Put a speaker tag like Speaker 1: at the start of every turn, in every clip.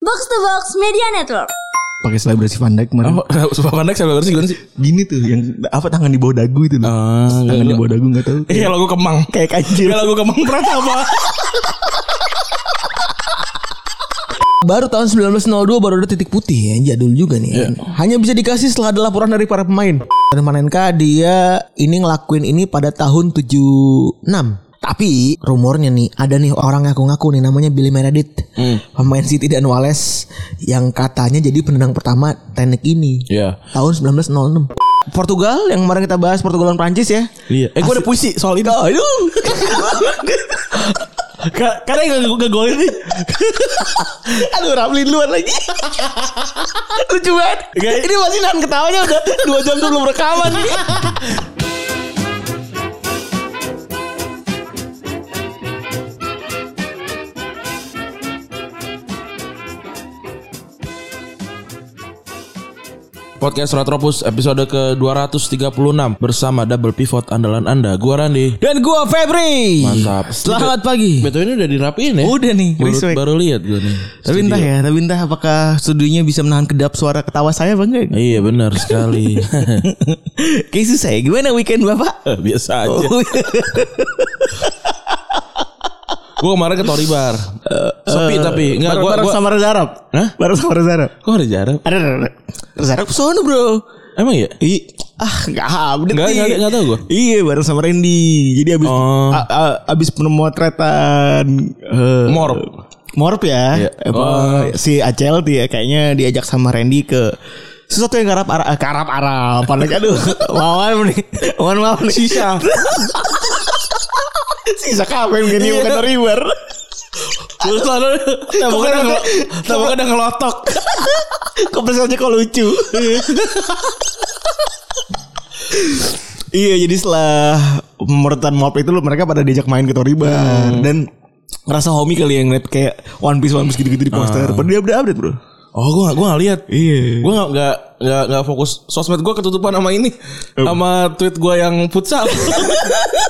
Speaker 1: Box to Box Media Network.
Speaker 2: pakai selebrasi Van Dyke kemarin.
Speaker 3: Oh, Sumpah Van Dyke selebrasi gimana sih?
Speaker 2: Gini tuh yang apa tangan di bawah dagu itu loh.
Speaker 3: Ah,
Speaker 2: tangan di bawah dagu enggak tahu.
Speaker 3: Iya lagu Kemang.
Speaker 2: Kayak kancil.
Speaker 3: Iya lagu Kemang Pratama.
Speaker 4: Baru tahun 1902 baru ada titik putih ya, jadul juga nih.
Speaker 3: Iya.
Speaker 4: ya. Hanya bisa dikasih setelah ada laporan dari para pemain. Dan Manenka dia ini ngelakuin ini pada tahun 76. Tapi rumornya nih ada nih orang ngaku-ngaku nih namanya Billy Meredith.
Speaker 3: Hmm.
Speaker 4: Pemain City dan Wales yang katanya jadi penendang pertama teknik ini.
Speaker 3: Iya.
Speaker 4: Tahun 1906. Portugal yang kemarin kita bahas Portugal dan Prancis ya.
Speaker 3: Iya. Eh gue ada puisi soal itu.
Speaker 4: Aduh.
Speaker 3: Ka- Karena yang gak golin nih.
Speaker 4: Aduh Ramli duluan lagi Lucu banget Ini masih nahan ketawanya udah 2 jam sebelum rekaman
Speaker 3: Podcast Retropus episode ke-236 bersama double pivot andalan Anda. Gua Randi.
Speaker 4: Dan gua Febri
Speaker 3: Mantap.
Speaker 4: Selamat pagi
Speaker 3: Betul ini udah dirapiin ya?
Speaker 4: Udah nih
Speaker 3: Baru,
Speaker 4: respect.
Speaker 3: baru lihat gue nih.
Speaker 4: Tapi entah ya Tapi entah apakah studionya bisa menahan kedap suara ketawa saya bang
Speaker 3: Iya benar sekali.
Speaker 4: Kayak susah ya Gimana weekend bapak? Oh, iya.
Speaker 3: Biasa aja. Gue kemarin ke Toribar. Sepi tapi enggak
Speaker 4: Bareng-
Speaker 3: gua
Speaker 4: bareng
Speaker 3: gua
Speaker 4: Eh, sama Reza Arab
Speaker 3: Hah?
Speaker 4: Bareng sama Reza Arab
Speaker 3: Kok ada jarak?
Speaker 4: Ada ada, ada Reza Arab sono bro
Speaker 3: Emang ya?
Speaker 4: Ih, ah nggak update
Speaker 3: Nggak- nggak- nggak tahu gua.
Speaker 4: Iya bareng sama Randy. Jadi Iya, abis
Speaker 3: Oh.
Speaker 4: a- a- abis penemotretan eh,
Speaker 3: Morp.
Speaker 4: Morp ya.
Speaker 3: Iya.
Speaker 4: Apa,
Speaker 3: Oh.
Speaker 4: Si Acel dia kayaknya diajak sama Randy ke sesuatu yang karap arab karap arab padahal aduh maaf nih mohon maaf nih sisa sisa kapan
Speaker 3: Iya.
Speaker 4: gini bukan river
Speaker 3: Terus lalu Tamu kan udah Tamu kan udah ngelotok
Speaker 4: Kepres aja kok lucu. iya jadi setelah pemerintahan mob itu loh, mereka pada diajak main ke
Speaker 3: Ah.
Speaker 4: Toribar dan Hmm. ngerasa homi kali yang ngeliat kayak One Piece One Piece gitu-gitu di poster. Padahal dia udah update bro.
Speaker 3: Oh gue gak, gue gak lihat
Speaker 4: Iya.
Speaker 3: Gue gak, gak, gak, gak fokus Sosmed gue ketutupan sama ini Sama tweet gue yang futsal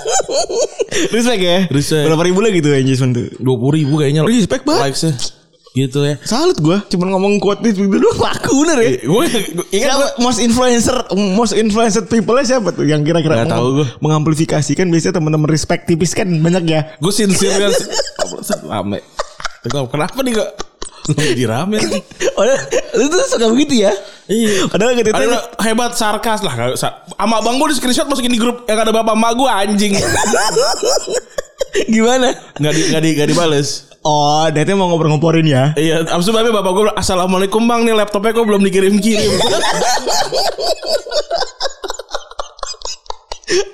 Speaker 4: Respect ya.
Speaker 3: Respect.
Speaker 4: Berapa ribu lagi tuh engagement tuh?
Speaker 3: 20 ribu kayaknya
Speaker 4: Respect banget.
Speaker 3: Likesnya Gitu ya
Speaker 4: Salut gua Cuman ngomong quote itu gitu doang laku bener ya.
Speaker 3: Gue Iya. ingat
Speaker 4: Siapa
Speaker 3: gue
Speaker 4: most influencer most influencer people nya siapa tuh yang kira-kira
Speaker 3: Nggak tahu gua.
Speaker 4: mengamplifikasi kan biasanya teman-teman respect tipis kan banyak ya.
Speaker 3: Gue sincere kan Rame Tengok, Kenapa nih kok Jadi rame
Speaker 4: Padahal Oh, ya? lu tuh suka begitu ya?
Speaker 3: Iya
Speaker 4: Padahal gitu
Speaker 3: ada hebat sarkas lah Nggak usah. Sama bang gue di screenshot masukin di grup Yang ada bapak emak gue anjing
Speaker 4: Gimana?
Speaker 3: Gak, di, gak, di, gak dibales
Speaker 4: Oh, Dete mau ngobrol-ngomporin ya?
Speaker 3: Iya, abis itu babe bapak gue bilang, Assalamualaikum bang nih laptopnya kok belum dikirim-kirim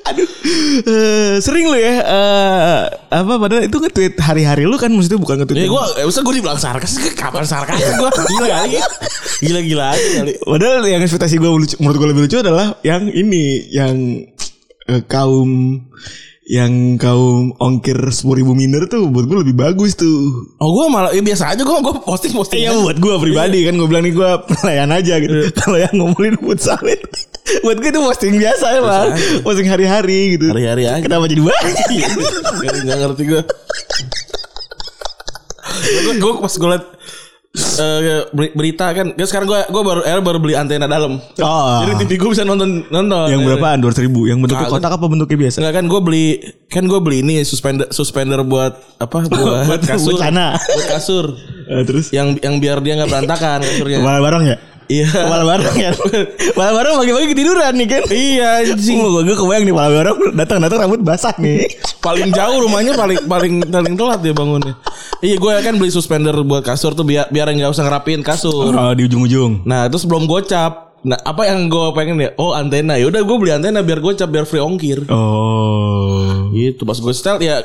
Speaker 4: Eh, sering lu ya eh, apa padahal itu nge-tweet hari-hari lu kan maksudnya bukan nge-tweet.
Speaker 3: Ya
Speaker 4: yang-
Speaker 3: gue, usah gue dibilang sarkas, kapan sarkas gue gila kali, gila-gila aja kali.
Speaker 4: Padahal yang ekspektasi gue lucu, menurut gue lebih lucu adalah yang ini yang eh, kaum yang kaum ongkir sepuluh ribu miner tuh buat gue lebih bagus tuh.
Speaker 3: Oh gue malah, ya biasa aja gue, gue posting posting.
Speaker 4: Iya buat gue pribadi kan gue bilang nih gue pelayan aja gitu. Kalau yang ngomongin futsal itu, buat gue itu posting biasa ya bang, posting hari-hari gitu.
Speaker 3: Hari-hari aja.
Speaker 4: Kenapa jadi banyak?
Speaker 3: Gak, gak ngerti gue. gue, gue pas gue liat eh, beri- berita kan, kan sekarang gue, gue baru, akhirnya baru beli antena dalam.
Speaker 4: Oh.
Speaker 3: Jadi TV gue bisa nonton, nonton.
Speaker 4: yang berapaan? Dua ribu. Yang bentuknya
Speaker 3: Kagak.
Speaker 4: kotak apa bentuknya biasa?
Speaker 3: Enggak kan gue beli kan gue beli ini suspender suspender buat apa buat,
Speaker 4: Buat
Speaker 3: kasur
Speaker 4: celana.
Speaker 3: buat kasur
Speaker 4: Eh, terus
Speaker 3: yang yang biar dia nggak berantakan kasurnya
Speaker 4: kepala barang ya?
Speaker 3: iya
Speaker 4: Kepala barang ya? kepala barang pagi-pagi ketiduran nih kan?
Speaker 3: iya anjing
Speaker 4: Oh, gue kebayang nih kepala barang datang-datang rambut basah nih.
Speaker 3: paling jauh rumahnya paling paling paling telat dia bangunnya iya gue kan beli suspender buat kasur tuh biar biar nggak usah ngerapiin kasur
Speaker 4: Oh, di ujung-ujung.
Speaker 3: nah terus belum gocap nah apa yang gue pengen ya oh antena ya udah gue beli antena biar gocap biar free ongkir
Speaker 4: Oh.
Speaker 3: gitu pas gue setel ya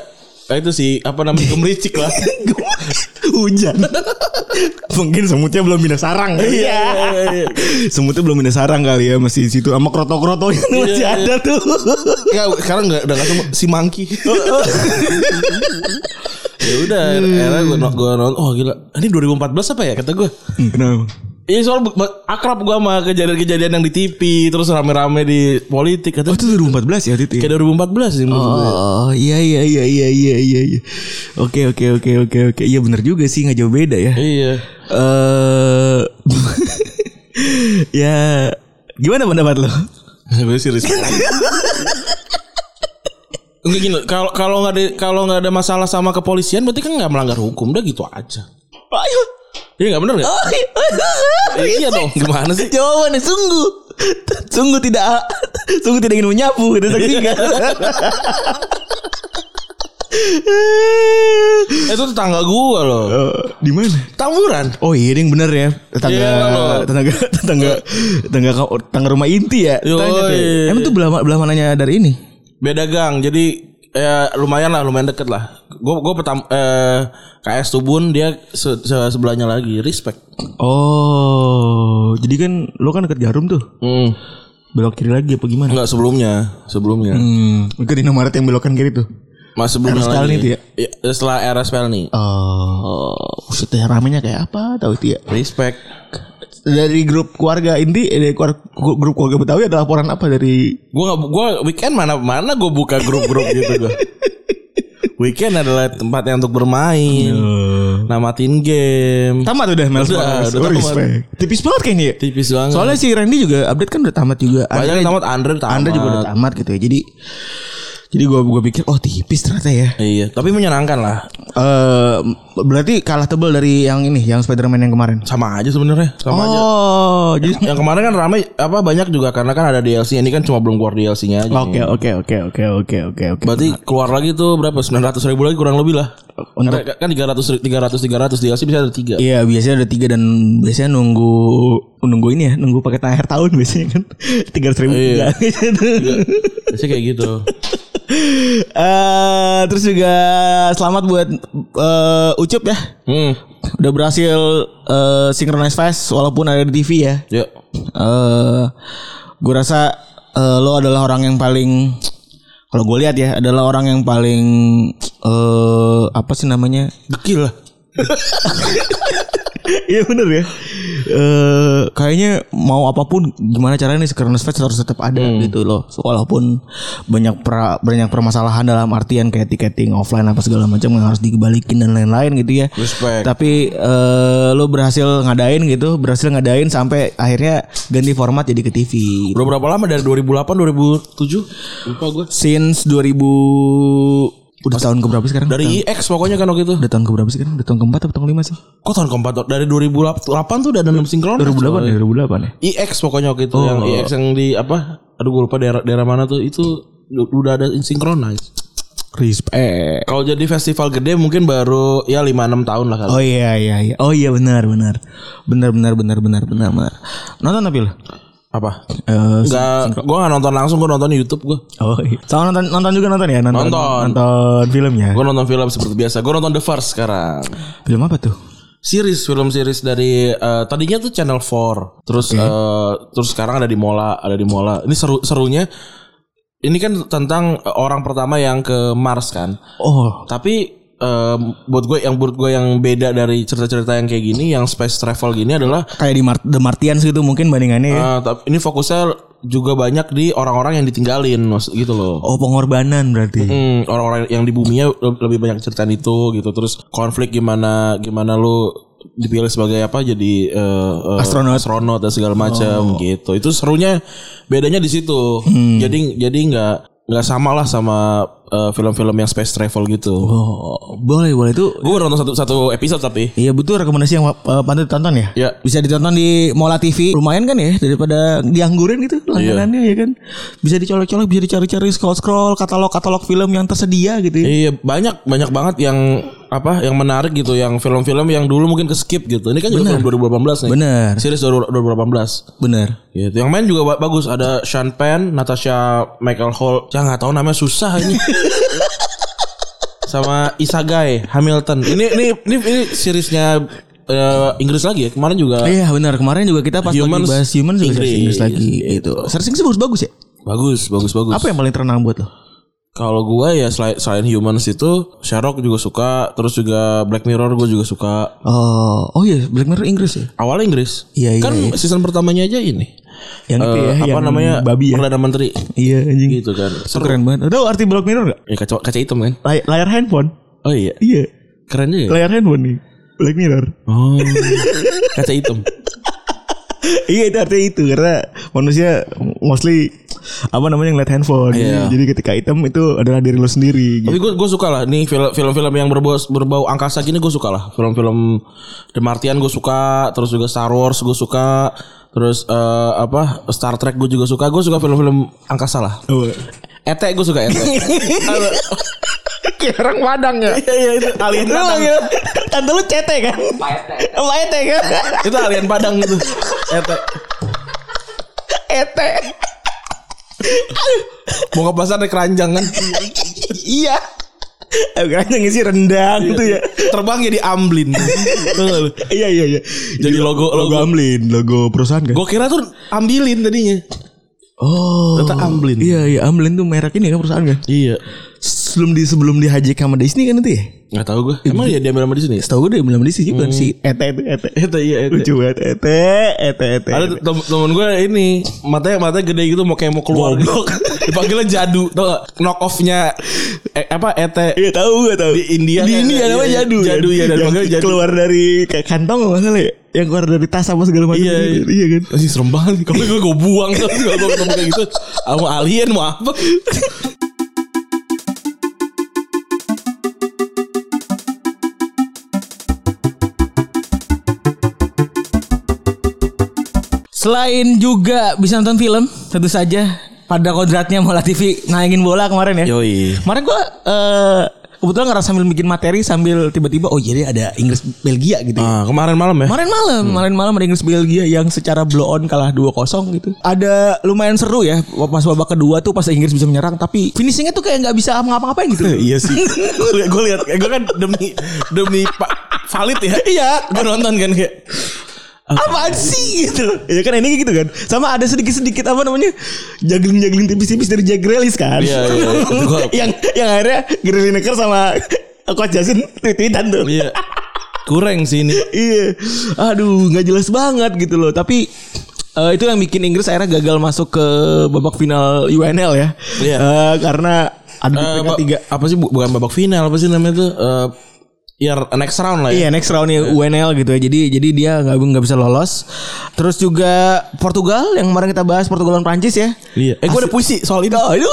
Speaker 3: ya itu sih apa namanya gemericik lah
Speaker 4: Hujan. Mungkin semutnya belum pindah sarang. kali ya.
Speaker 3: iya.
Speaker 4: semutnya belum pindah sarang kali ya masih di situ sama kroto-kroto itu masih
Speaker 3: Iya,
Speaker 4: ada tuh.
Speaker 3: ya sekarang nggak udah nggak semua si monkey ya udah akhirnya gue gue nonton oh gila ini 2014 apa ya kata gue
Speaker 4: Hmm, Kenapa?
Speaker 3: Iya soal be- be- akrab gua sama kejadian-kejadian yang di TV terus rame-rame di politik
Speaker 2: Oh
Speaker 3: katanya
Speaker 2: itu 2014 ya
Speaker 4: Iya.
Speaker 2: Titi?
Speaker 3: kayak 2014 sih menurut gua.
Speaker 2: Oh iya iya iya iya iya iya. iya. Oke oke oke oke oke. Iya bener juga sih nggak jauh beda ya.
Speaker 3: Iya.
Speaker 2: Eh ya gimana pendapat lo?
Speaker 3: Gue sih respect. Enggak gini, kalau kalau nggak ada kalau nggak ada masalah sama kepolisian berarti kan nggak melanggar hukum, udah gitu aja. Iya nggak bener
Speaker 4: Ah,
Speaker 3: nggak?
Speaker 4: Oh,
Speaker 3: iya dong, gimana sih?
Speaker 4: Jawabannya sungguh
Speaker 2: sungguh
Speaker 4: Ah,
Speaker 2: tidak sungguh tidak ingin menyapu gitu
Speaker 4: Iya.
Speaker 2: saksi nggak?
Speaker 3: Eh, Itu tetangga gua loh.
Speaker 2: Eh, Di mana?
Speaker 3: Tamburan.
Speaker 2: Oh iya yang bener ya tetangga
Speaker 3: Iya, lo.
Speaker 2: tetangga tetangga tetangga ka- tetangga rumah inti ya.
Speaker 3: Yoi.
Speaker 2: Tanya tuh. Emang tuh belah belah mananya dari ini?
Speaker 3: Beda gang, jadi eh, lumayan lah, lumayan deket lah. Gue gue pertama eh, KS Tubun dia se- se- sebelahnya lagi, respect.
Speaker 2: Oh jadi kan lo kan deket jarum tuh
Speaker 3: Hmm.
Speaker 2: belok kiri lagi apa gimana?
Speaker 3: Enggak sebelumnya, sebelumnya.
Speaker 2: Hmm, itu di nomor yang belokan kiri tuh.
Speaker 3: Mas sebelumnya
Speaker 2: RSPL nih itu ya?
Speaker 3: Iya, setelah RSPL nih.
Speaker 2: Oh, maksudnya ramenya kayak apa tahu itu ya?
Speaker 3: Respect.
Speaker 2: Dari grup keluarga inti, eh, dari keluar- grup keluarga Betawi ada laporan apa dari
Speaker 3: Gue gak, gue weekend mana mana gue buka grup-grup gitu gue. Weekend adalah tempat yang untuk bermain, namatin game.
Speaker 2: tamat udah Mel
Speaker 3: Udah,
Speaker 2: Suarez.
Speaker 3: udah
Speaker 2: Oh,
Speaker 3: tamat.
Speaker 2: respect. Tipis banget kayaknya ya.
Speaker 3: Tipis banget.
Speaker 2: Soalnya si Randy juga update kan udah tamat juga.
Speaker 3: banyak yang tamat Andre tamat.
Speaker 2: Anda juga udah tamat gitu ya. Jadi jadi gua gua pikir oh tipis ternyata ya.
Speaker 3: Iya, tapi menyenangkan lah.
Speaker 2: Eh berarti kalah tebel dari yang ini, yang Spider-Man yang kemarin.
Speaker 3: Sama aja sebenarnya, sama aja.
Speaker 2: Oh, jadi
Speaker 3: Yang kemarin kan ramai apa banyak juga karena kan ada DLC ini kan cuma belum keluar DLC-nya aja.
Speaker 2: Oke, oke, oke, oke, oke, oke, oke.
Speaker 3: Berarti keluar lagi tuh berapa? 900 ribu lagi kurang lebih lah.
Speaker 2: Untuk
Speaker 3: Karena kan 300 300 300 DLC bisa ada 3.
Speaker 2: Iya biasanya ada tiga dan biasanya nunggu nunggu ini ya nunggu paket akhir tahun biasanya kan tiga ratus ribu tiga.
Speaker 3: Iya. Biasanya kayak gitu.
Speaker 2: Eh, terus juga selamat buat eh, Ucup ya
Speaker 3: Hmm.
Speaker 2: udah berhasil eh, synchronize fast walaupun ada di TV ya.
Speaker 3: Yuk.
Speaker 2: Eh gue rasa eh, lo adalah orang yang paling kalau gue lihat ya adalah orang yang paling eh apa sih namanya
Speaker 3: Dekil lah.
Speaker 2: Iya bener ya. Eh kayaknya mau apapun gimana caranya nih Synchronous Fest harus tetap ada gitu loh. Walaupun banyak pra- banyak permasalahan dalam artian kayak tiketing offline apa segala macam yang harus dibalikin dan lain-lain gitu ya.
Speaker 3: Respect.
Speaker 2: Tapi eh lo berhasil ngadain gitu, berhasil ngadain sampai akhirnya ganti format jadi ke TV.
Speaker 3: Gitu. Udah berapa lama dari 2008 2007? Lupa gue.
Speaker 2: Since 2000 udah tahun keberapa sih sekarang?
Speaker 3: Dari EX pokoknya kan waktu itu.
Speaker 2: udah tahun keberapa sih sekarang? Udah tahun keempat atau tahun kelima sih?
Speaker 3: Kok tahun keempat dari 2008 tuh udah ada 6 sinkron.
Speaker 2: 2008 ya, 2008 ya.
Speaker 3: EX pokoknya waktu itu yang EX yang di apa? Aduh gue lupa daerah daerah mana tuh itu u- udah ada synchronize.
Speaker 2: Respect.
Speaker 3: Kalau jadi festival gede mungkin baru ya 5 6 tahun lah kali.
Speaker 2: Oh iya iya iya. Oh iya benar benar. Benar benar benar benar benar benar. Nonton tapi lo?
Speaker 3: Apa?
Speaker 2: Eh,
Speaker 3: Enggak, gue gak nonton langsung, gue nonton YouTube gue.
Speaker 2: oh iya. Sama nonton nonton juga nonton ya nonton
Speaker 3: Nonton.
Speaker 2: nonton filmnya.
Speaker 3: Gue nonton film seperti biasa. Gue nonton The First sekarang.
Speaker 2: Film apa tuh?
Speaker 3: Series film series dari eh, tadinya tuh Channel 4. Terus eh, terus sekarang ada di Mola, ada di Mola. Ini seru serunya ini kan tentang eh, orang pertama yang ke Mars kan.
Speaker 2: Oh
Speaker 3: Tapi eh, buat gue yang buat gue yang beda dari cerita-cerita yang kayak gini, yang space travel gini adalah
Speaker 2: kayak di Mar- The Martians gitu mungkin bandingannya. ya.
Speaker 3: eh, tapi ini fokusnya juga banyak di orang-orang yang ditinggalin maksud gitu loh.
Speaker 2: Oh pengorbanan berarti.
Speaker 3: Hmm, orang-orang yang di buminya le- lebih banyak ceritain itu gitu terus konflik gimana gimana lu dipilih sebagai apa jadi eh, eh,
Speaker 2: Astronot.
Speaker 3: astronot dan segala macam gitu itu serunya bedanya di situ jadi jadi nggak nggak sama lah sama eh, film-film yang space travel gitu
Speaker 2: Oh boleh boleh itu.
Speaker 3: gue baru nonton satu satu episode tapi
Speaker 2: Iya betul rekomendasi yang eh, pantas ditonton ya.
Speaker 3: ya
Speaker 2: Bisa ditonton di Mola TV. Lumayan kan ya daripada dianggurin gitu langganannya ya kan. Bisa dicolok-colok, bisa dicari-cari, scroll-scroll katalog-katalog film yang tersedia gitu ya.
Speaker 3: Iya banyak banyak banget yang apa yang menarik gitu yang film-film yang dulu mungkin ke skip gitu ini kan juga film
Speaker 2: Iya.
Speaker 3: 2018 nih
Speaker 2: Bener.
Speaker 3: series 2018
Speaker 2: Bener.
Speaker 3: Gitu. Yang main juga ba- bagus ada Sean Penn, Natasha Michael Hall. Ya nggak tahu namanya susah ini. Sama Isagai Hamilton. Ini ini ini, ini seriesnya eh, Inggris lagi ya. Kemarin juga
Speaker 2: Iya benar kemarin juga kita pas
Speaker 3: Humans,
Speaker 2: lagi bahas human Iya. juga
Speaker 3: Inggris.
Speaker 2: searching Inggris lagi gitu. Searching sih bagus bagus ya.
Speaker 3: bagus bagus bagus.
Speaker 2: Apa yang paling terkenal buat lo?
Speaker 3: Kalau gua ya selain, selain Humans itu Sherlock juga suka, terus juga Black Mirror gua juga suka.
Speaker 2: Oh, oh iya Black Mirror Inggris ya.
Speaker 3: Awalnya Inggris.
Speaker 2: Iya, iya,
Speaker 3: Kan season pertamanya aja ini.
Speaker 2: Yang itu
Speaker 3: Eh,
Speaker 2: ya,
Speaker 3: apa
Speaker 2: yang
Speaker 3: namanya?
Speaker 2: babi ya.
Speaker 3: Perdana Menteri.
Speaker 2: Iya anjing.
Speaker 3: Gitu kan.
Speaker 2: Itu keren banget. Udah arti Black Mirror gak?
Speaker 3: Ya, kaca, kaca hitam kan.
Speaker 2: Lay- layar handphone.
Speaker 3: Oh iya.
Speaker 2: Iya.
Speaker 3: Keren juga. ya?
Speaker 2: Layar handphone nih. Black Mirror.
Speaker 3: Oh. kaca hitam.
Speaker 2: iya itu artinya itu karena manusia mostly apa namanya ngeliat handphone.
Speaker 3: Iya.
Speaker 2: Jadi ketika item itu adalah diri lo sendiri. Gitu.
Speaker 3: Tapi gue gue suka lah nih film- film-film yang berbau berbau angkasa gini gue suka lah film-film Demartian gue suka terus juga Star Wars gue suka terus eh, apa Star Trek gue juga suka gue suka film-film angkasa lah
Speaker 2: Oh.
Speaker 3: Ete gue suka Ete
Speaker 2: Kayak orang Padang ya.
Speaker 3: Iya iya itu alien
Speaker 2: Lu
Speaker 3: Padang
Speaker 2: manggil tante lu cete kan? Sama ete kan?
Speaker 3: itu alien Padang itu Ete
Speaker 2: Ete.
Speaker 3: mau ke pasar naik keranjang kan
Speaker 2: Iya. Kayaknya ngisi rendang tuh ya.
Speaker 3: terbang jadi amblin
Speaker 2: Iya iya iya.
Speaker 3: jadi logo
Speaker 2: Logo
Speaker 3: logo
Speaker 2: Amlin, logo perusahaan kan?
Speaker 3: gue kira tuh ambilin tadinya
Speaker 2: Oh.
Speaker 3: Ternyata Amblin.
Speaker 2: Iya iya Amblin tuh merek ini kan perusahaan kan?
Speaker 3: iya
Speaker 2: Sebelum di sebelum dihajek sama Disney kan itu ya?
Speaker 3: nggak tahu gue emang ya diambil sama di sini
Speaker 2: Setahu gue dia belum Disney juga kan,
Speaker 3: Hmm.
Speaker 4: Hmm.
Speaker 2: si Ete itu Ete.
Speaker 3: Ete iya Ete
Speaker 2: Lucu banget Ete Ete Ete.
Speaker 3: Ada tem- temen gue ini matanya matanya gede gitu mau kayak mau keluar gitu. Dipanggilnya jadu tau gak? Knock offnya eh, apa ete
Speaker 2: Iya tahu gue tahu.
Speaker 3: Di India
Speaker 2: Di
Speaker 3: kan?
Speaker 2: India
Speaker 3: Iya,
Speaker 2: namanya
Speaker 3: iya.
Speaker 2: jadu. kan?
Speaker 3: Jadu, iya, dan
Speaker 2: Yang
Speaker 3: makanya jadu.
Speaker 2: keluar dari kayak kantong nggak salah
Speaker 4: Iya.
Speaker 2: ya. Yang keluar dari tas sama segala macam.
Speaker 3: Iya,
Speaker 2: gitu.
Speaker 3: iya.
Speaker 2: iya kan.
Speaker 3: masih serem banget kalau gue gue buang tuh kalau gue ketemu kayak gitu Ah, mau alien mau apa
Speaker 4: Selain juga bisa nonton film, tentu saja pada kodratnya Mola TV nayangin bola kemarin ya.
Speaker 3: yoi
Speaker 4: Kemarin gua eh, kebetulan ngerasa sambil bikin materi sambil tiba-tiba oh jadi ada Inggris Belgia gitu. ya.
Speaker 3: ah kemarin malam ya
Speaker 4: Kemarin malam,
Speaker 2: Hmm.
Speaker 4: kemarin malam ada Inggris Belgia yang secara blow on kalah 2-0 gitu. Ada lumayan seru ya pas babak kedua tuh pas Inggris bisa menyerang tapi finishingnya tuh kayak nggak bisa ngapa-ngapain gitu.
Speaker 3: iya sih gue lihat gue kan demi demi pa- valid ya iya gue nonton kan kayak
Speaker 4: Apaan sih gitu?
Speaker 2: Ya kan ini gitu kan. Sama ada sedikit-sedikit apa namanya? Jagling-jagling tipis-tipis dari Jagrelis kan.
Speaker 3: Iya, iya, iya. Itu gua-
Speaker 2: yang yang akhirnya Gerilineker sama Coach Jasin tweet-tweetan tuh.
Speaker 3: iya kurang sih ini
Speaker 2: Iya.
Speaker 4: Aduh, nggak jelas banget gitu loh. Tapi eh, itu yang bikin Inggris akhirnya gagal masuk ke babak final UNL ya.
Speaker 3: Iya.
Speaker 2: Eh, karena ada di
Speaker 3: Eh,
Speaker 2: peringkat
Speaker 3: ba-
Speaker 2: tiga.
Speaker 3: apa sih bu- bukan babak final apa sih namanya tuh Eh, ya next round lah ya
Speaker 4: Iya next roundnya UNL gitu ya. Jadi jadi dia nggak nggak bisa lolos. Terus juga Portugal yang kemarin kita bahas Portugal dan Prancis ya.
Speaker 3: Iya. Eh gue
Speaker 4: Hasil-
Speaker 3: ada puisi soal itu.
Speaker 4: Aduh.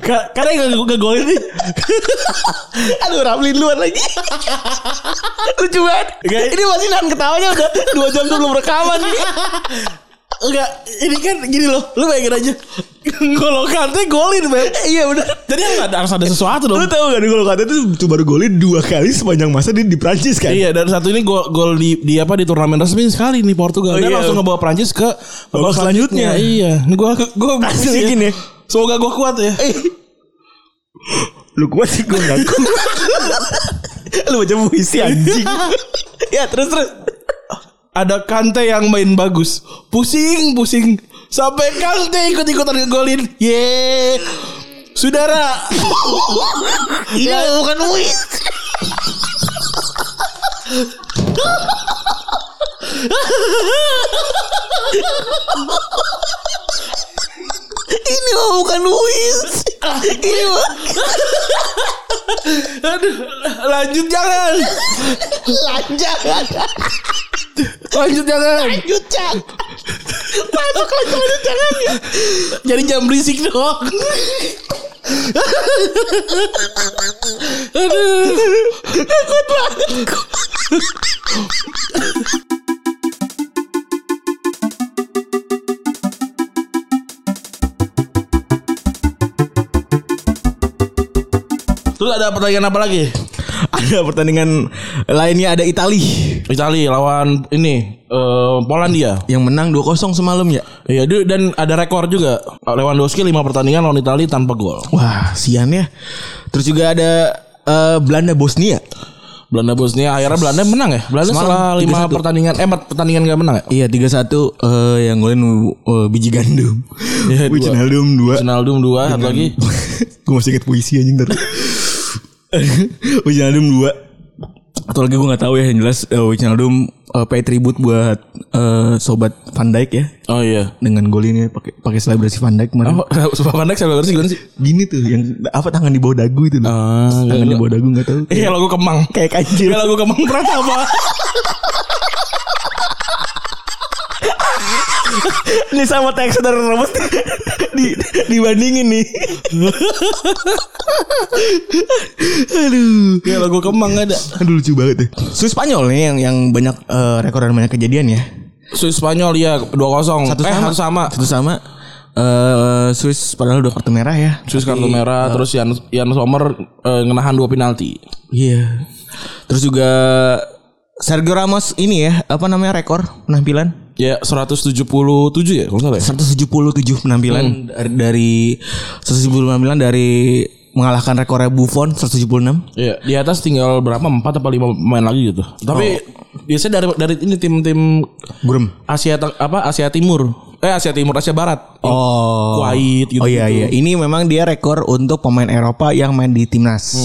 Speaker 3: Ka- Karena yang gue ngegolin nih.
Speaker 4: Aduh Ramli duluan lagi. Lucu banget.
Speaker 3: Guys.
Speaker 4: Ini masih nahan ketawanya udah dua jam sebelum rekaman nih.
Speaker 3: Enggak, ini kan gini loh. Lu bayangin aja. Kalau kante golin, Beb.
Speaker 4: Iya benar.
Speaker 3: Jadi ada- harus ada sesuatu
Speaker 2: Lu
Speaker 3: dong.
Speaker 2: tau gak nih kalau kata itu tuh baru golin dua kali sepanjang masa dia di Prancis kan.
Speaker 3: Iya, dan satu ini gol gol di, di apa di turnamen resmi sekali nih Portugal. Dan
Speaker 2: iya.
Speaker 3: langsung ngebawa Prancis ke babak
Speaker 2: selanjutnya.
Speaker 3: Iya. Ini gua gua
Speaker 2: Asli
Speaker 3: puisi
Speaker 2: gini.
Speaker 3: Semoga gua kuat ya.
Speaker 2: Eh. Lu kuat sih gue gak kuat. Lu baca puisi anjing.
Speaker 3: ya terus terus ada Kante yang main bagus pusing pusing sampai Kante ikut ikutan ngegolin ye saudara ini bukan win
Speaker 4: Ini mah bukan Luis. Ini mah
Speaker 3: aduh lanjut jangan
Speaker 4: lancar.
Speaker 3: lanjut jangan
Speaker 4: Lanjut cang. Masuk lanjut lanjut jangan ya.
Speaker 3: jadi jam berisik dong Terus ada pertanyaan apa lagi?
Speaker 2: ada pertandingan lainnya ada Itali
Speaker 3: Itali lawan ini eh, Polandia.
Speaker 2: yang menang 2-0 semalam ya.
Speaker 3: Iya, dia- dan ada rekor juga. Lewandowski 5 pertandingan lawan Itali tanpa gol.
Speaker 2: Wah, sian ya. Terus juga ada eh, Belanda Bosnia.
Speaker 3: Belanda Bosnia akhirnya Belanda menang ya. Belanda setelah lima pertandingan eh empat pertandingan gak menang
Speaker 2: Iya
Speaker 3: ya.
Speaker 2: 3-1 eh, yang golin eh, biji gandum.
Speaker 3: Iya, dua.
Speaker 2: Wijnaldum 2.
Speaker 3: Wijnaldum dua, satu lagi
Speaker 2: gue masih inget puisi anjing tadi. Wijnaldum 2. Atau lagi gue gak tahu ya yang jelas eh, Wijnaldum eh, pay tribute buat eh, sobat Van Dijk ya
Speaker 3: Oh iya.
Speaker 2: dengan golinnya pakai pakai selebrasi Van Dijk kemarin.
Speaker 3: Oh, sebab pandai saya sih gimana sih?
Speaker 2: Gini tuh yang apa tangan di bawah dagu itu loh. tangan di bawah dagu gak tahu.
Speaker 3: Ah, Iya lagu Kemang.
Speaker 2: Kayak
Speaker 3: Iya
Speaker 2: kancil.
Speaker 3: lagu Kemang Pratama.
Speaker 2: Ini sama teks dari Robert di, dibandingin nih. Aduh.
Speaker 3: Iya lagu Kemang ada.
Speaker 2: Aduh lucu banget ya. Swiss Spanyol nih yang yang banyak eh, rekor dan banyak kejadian ya.
Speaker 3: Swiss Spanyol ya 2-0. eh harus sama.
Speaker 2: Satu sama. eh Swiss padahal udah kartu
Speaker 4: Ah,
Speaker 2: merah ya.
Speaker 3: Swiss kartu merah terus Jan Jan Sommer eh, ngenahan dua penalti.
Speaker 2: Iya. Terus juga Sergio Ramos ini ya, apa namanya rekor penampilan?
Speaker 3: Ya 177 ya kalau nggak salah. ya?
Speaker 2: 177 penampilan Hmm, dari, dari 170 penampilan dari mengalahkan rekornya Buffon 176.
Speaker 3: Iya, di atas tinggal berapa? 4 apa 5 pemain lagi gitu. Tapi biasanya dari dari ini tim-tim
Speaker 2: Burem.
Speaker 3: Asia Teng- apa Asia Timur. Eh Asia Timur, Asia Barat.
Speaker 2: Oh.
Speaker 3: Kuwait gitu.
Speaker 2: oh iya iya, ini memang dia rekor untuk pemain Eropa yang main di timnas.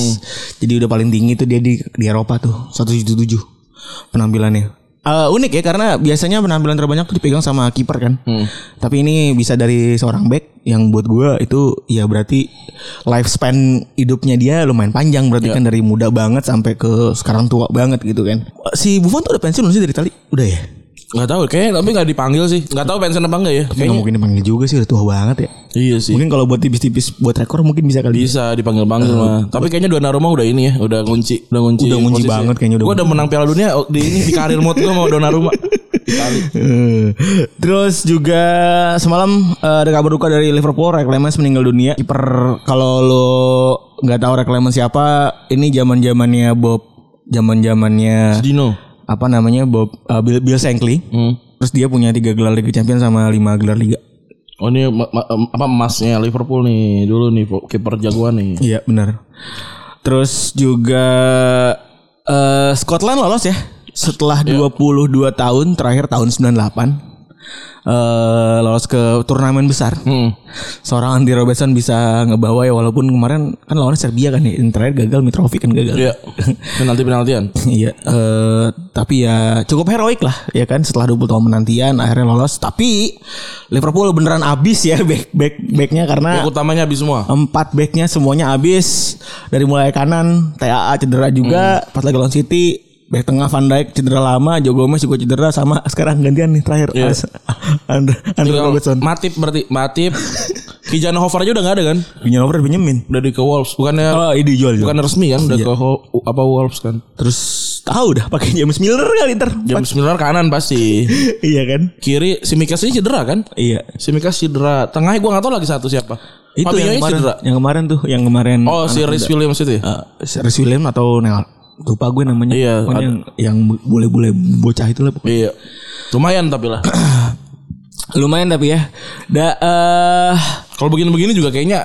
Speaker 2: Jadi udah paling tinggi tuh dia di di Eropa tuh 177 penampilannya. Eh, unik ya karena biasanya penampilan terbanyak tuh dipegang sama kiper kan.
Speaker 3: Hmm.
Speaker 2: Tapi ini bisa dari seorang back yang buat gua itu ya berarti lifespan hidupnya dia lumayan panjang berarti kan dari muda banget sampai ke sekarang tua banget gitu kan. Si Buffon tuh udah pensiun belum sih dari Itali? Udah ya?
Speaker 3: Enggak tahu kayaknya tapi enggak dipanggil sih. Enggak tahu pensiun apa enggak
Speaker 2: Tapi
Speaker 3: ya.
Speaker 2: nggak
Speaker 3: Kayaknya
Speaker 2: mungkin dipanggil juga sih udah tua banget ya.
Speaker 3: iya sih.
Speaker 2: Mungkin kalau buat tipis-tipis buat rekor mungkin bisa kali.
Speaker 3: Bisa dipanggil-panggil mah. Tapi kayaknya Donnarumma udah ini ya, udah kunci, udah kunci.
Speaker 2: Udah ngunci banget kayaknya udah
Speaker 3: Gue udah menang Piala Dunia di ini di karir mode gue mau Donnarumma. Itali.
Speaker 2: Eh, Terus juga semalam eh, ada kabar duka dari Liverpool, Reclamens meninggal dunia. Kiper kalau lo nggak tahu Reclamens siapa, ini zaman zamannya Bob, zaman zamannya
Speaker 3: Dino.
Speaker 2: apa namanya Bob eh, Bill, Bill Shankly.
Speaker 3: Hmm.
Speaker 2: Terus dia punya tiga gelar Liga Champions sama lima gelar Liga.
Speaker 3: Oh ini ma- ma- em, apa emasnya Liverpool nih dulu nih kiper jagoan nih.
Speaker 2: Iya benar. Terus juga eh Scotland lolos ya setelah 22 tahun terakhir tahun 98 eh lolos ke turnamen besar.
Speaker 3: Hmm.
Speaker 2: Seorang Andy Robertson bisa ngebawa ya walaupun kemarin kan lawannya Serbia kan ya. Yang terakhir gagal Mitrovic kan gagal.
Speaker 3: Iya. Penalti penaltian.
Speaker 2: Iya, eh, tapi ya cukup heroik lah ya kan setelah 20 tahun menantian akhirnya lolos. Tapi Liverpool beneran abis ya back back backnya karena
Speaker 3: Yang utamanya habis semua.
Speaker 2: empat backnya semuanya habis dari mulai kanan TAA cedera juga pas lagi lawan City back tengah Van Dijk cedera lama Joe Gomez juga cedera sama sekarang gantian nih terakhir
Speaker 3: Iya.
Speaker 2: As- Andre Andre
Speaker 3: Tinggal
Speaker 2: Robertson
Speaker 3: Matip berarti Matip. Kijan Hofer aja udah gak ada kan?
Speaker 2: punya nomor pinjemin
Speaker 3: Udah di ke Wolves. Bukannya
Speaker 2: oh Iya. ini dijual juga
Speaker 3: bukan resmi kan udah ke Ho- apa Wolves kan.
Speaker 2: terus tahu dah pakai James Miller kali ter
Speaker 3: James Miller kanan pasti.
Speaker 2: iya kan
Speaker 3: Kiri Simikas ini cedera kan?
Speaker 2: iya
Speaker 3: Simikas cedera. Tengahnya gue gak tahu lagi satu siapa.
Speaker 2: itu yang
Speaker 3: Fabinho-nya
Speaker 2: kemarin
Speaker 3: cedera.
Speaker 2: yang kemarin tuh yang kemarin
Speaker 3: Oh si Rhys Williams itu ya?
Speaker 2: Eh, Reece Williams atau Neal lupa gue namanya
Speaker 3: Iya,
Speaker 2: Pokoknya yang, yang boleh-boleh bocah itu lah pokoknya.
Speaker 3: Iya. Lumayan tapi lah.
Speaker 2: lumayan tapi ya da eh
Speaker 3: Kalau begini-begini juga kayaknya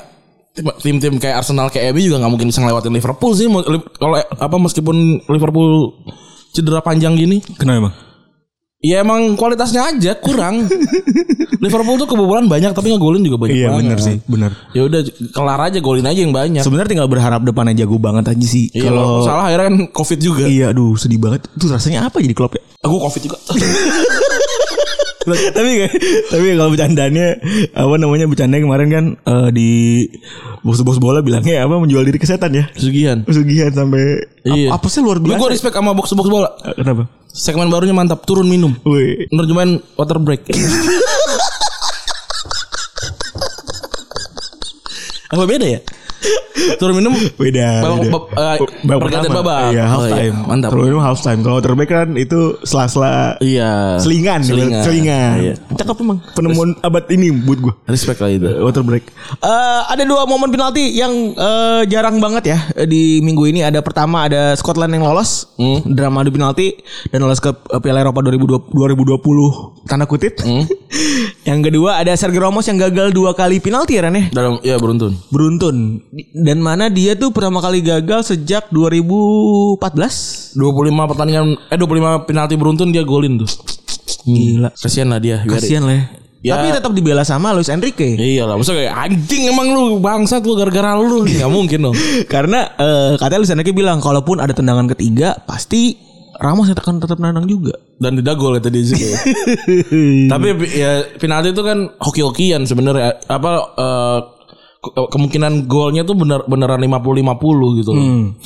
Speaker 3: tim-tim kayak Arsenal kayak MU juga nggak mungkin bisa ngelewatin Liverpool sih Mau- li- kalau eh, apa meskipun Liverpool cedera panjang gini
Speaker 2: kenapa bang
Speaker 3: ya emang kualitasnya aja kurang Liverpool tuh kebobolan banyak tapi ngegolin juga banyak
Speaker 2: Iya
Speaker 3: banget.
Speaker 2: bener sih bener
Speaker 3: ya udah kelar aja golin aja yang banyak
Speaker 2: Sebenarnya tinggal berharap depannya jago banget aja sih
Speaker 3: Iya,
Speaker 2: Kalau
Speaker 3: walaupun salah akhirnya kan covid juga
Speaker 2: Iya aduh sedih banget Itu rasanya apa jadi klub ya
Speaker 3: aku covid juga
Speaker 2: tapi tapi kalau bercandanya apa namanya bercandanya kemarin kan eh, di bos-bos bola bilangnya apa menjual diri ke setan ya
Speaker 3: sugihan
Speaker 2: pesugihan sampai
Speaker 3: Iya.
Speaker 2: apa sih luar
Speaker 3: Gue
Speaker 2: biasa
Speaker 3: gue respect sama box box bola.
Speaker 2: Eh, kenapa
Speaker 3: Segmen barunya mantap, turun minum.
Speaker 2: Woi,
Speaker 3: Nerjemahin water break. Apa beda ya? Turun minum
Speaker 2: beda.
Speaker 3: Babak-
Speaker 2: beda.
Speaker 3: bab- eh,
Speaker 4: Oh,
Speaker 2: Babak
Speaker 3: pergantian
Speaker 2: pertama.
Speaker 3: babak.
Speaker 2: Iya, half
Speaker 3: Oh, iya,
Speaker 2: time.
Speaker 3: mantap.
Speaker 2: Kalau itu half time. Kalau terbaik kan itu sela-sela
Speaker 3: Iya.
Speaker 2: selingan,
Speaker 4: gitu,
Speaker 3: Selingan.
Speaker 2: selingan.
Speaker 3: Iya.
Speaker 2: Cakep emang penemuan abad ini buat gua.
Speaker 3: Respect lah itu.
Speaker 4: Oh,
Speaker 2: Water break. Eh, ada dua momen penalti yang eh, jarang banget ya eh, di minggu ini. Ada pertama ada Scotland yang lolos drama adu penalti dan lolos ke eh, Piala Eropa 2020, 2020 tanda kutip.
Speaker 3: Mm.
Speaker 4: Hmm?
Speaker 2: yang kedua ada Sergio Ramos yang gagal dua kali penalti ya Ren ya?
Speaker 3: Dalam ya beruntun.
Speaker 2: Beruntun
Speaker 4: Di- Dan mana dia tuh pertama kali gagal sejak 2014.
Speaker 3: 25 pertandingan eh 25 penalti beruntun dia golin tuh.
Speaker 4: Gila.
Speaker 3: Kasihan lah dia. biar-
Speaker 4: Kasihan lah.
Speaker 3: Ya.
Speaker 4: Ya. Tapi tetap dibela sama Luis Enrique.
Speaker 3: Iya lah, maksudnya kayak anjing emang lu bangsat lu gara-gara lu nggak mungkin dong.
Speaker 4: Karena eh, katanya Luis Enrique bilang kalaupun ada tendangan ketiga pasti Ramos akan tetap nandang juga.
Speaker 3: Dan tidak gol itu di situ. Tapi ya penalti itu kan hoki-hokian sebenarnya apa eh, ke- kemungkinan golnya tuh bener beneran 50-50 gitu. loh.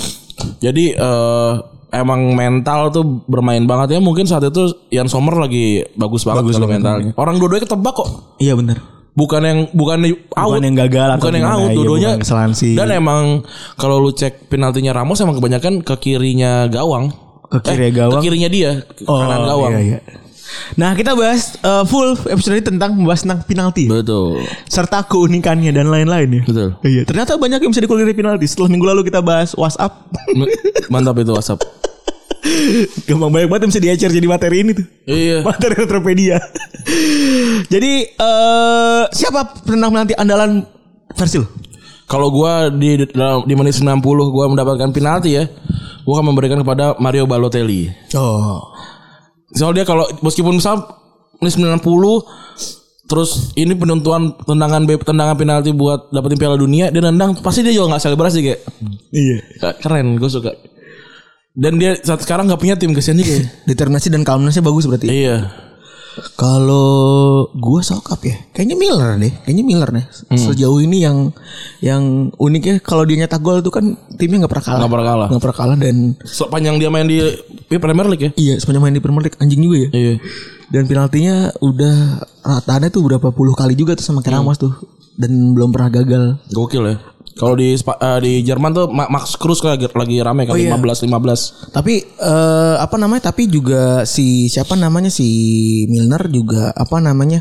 Speaker 3: Jadi eh, emang mental tuh bermain banget ya mungkin saat itu Ian Sommer lagi bagus banget kalau mentalnya. Orang dua-duanya ketebak kok.
Speaker 4: Iya benar.
Speaker 3: Bukan yang bukan yang out.
Speaker 2: Bukan yang gagal atau
Speaker 3: bukan yang
Speaker 2: gimana,
Speaker 3: out
Speaker 2: iya,
Speaker 3: dua-duanya
Speaker 2: bukan kesalahan sih.
Speaker 3: Dan emang kalau lu cek penaltinya Ramos emang kebanyakan ke kirinya gawang.
Speaker 2: Ke
Speaker 3: Eh,
Speaker 2: kiri gawang?
Speaker 3: Ke kirinya dia, ke kanan gawang.
Speaker 2: iya, iya.
Speaker 4: Oh, Nah kita bahas eh, full episode ini tentang membahas tentang penalti
Speaker 3: Betul.
Speaker 4: serta keunikannya dan lain-lain ya.
Speaker 3: Betul.
Speaker 4: Iya, ternyata banyak yang bisa dikulik dari penalti. Setelah minggu lalu kita bahas WhatsApp.
Speaker 3: M- Mantap itu WhatsApp.
Speaker 4: Gampang banyak banget yang bisa diecer jadi materi ini tuh.
Speaker 3: Iya.
Speaker 4: Materi Retropedia. jadi eh siapa penendang penalti andalan versi lo?
Speaker 3: Kalau gua di dalam- di menit 90 gua mendapatkan penalti ya. Gua akan memberikan kepada Mario Balotelli.
Speaker 4: Oh.
Speaker 3: Soalnya dia kalau meskipun misal menit 90 terus ini penentuan tendangan be- tendangan penalti buat dapetin Piala Dunia dia nendang pasti dia juga nggak selebrasi kayak
Speaker 4: Iya.
Speaker 3: keren gue suka dan dia saat sekarang nggak punya tim kesian juga ya.
Speaker 4: Iya, Determinasi dan calmnessnya bagus berarti.
Speaker 3: iya
Speaker 4: Kalau gua sokap ya, kayaknya Miller deh, kayaknya Miller deh.
Speaker 3: Hmm.
Speaker 4: Sejauh ini yang yang uniknya kalau dia nyetak gol tuh kan timnya nggak pernah kalah.
Speaker 3: Nggak pernah kalah.
Speaker 4: Nggak pernah kalah dan
Speaker 3: sepanjang dia main di di Premier League ya
Speaker 4: iya sepanjang main di Premier League anjing juga ya.
Speaker 3: iya
Speaker 4: Dan penaltinya udah rataannya tuh berapa puluh kali juga tuh sama
Speaker 3: Hmm.
Speaker 4: kayak Ramos tuh dan belum pernah gagal.
Speaker 3: gokil ya kalau di Spa- eh, di Jerman tuh Ma- Max Kruse lagi, lagi rame kan 15 15
Speaker 4: Tapi eh, apa namanya? Tapi juga si siapa namanya si Milner juga apa namanya?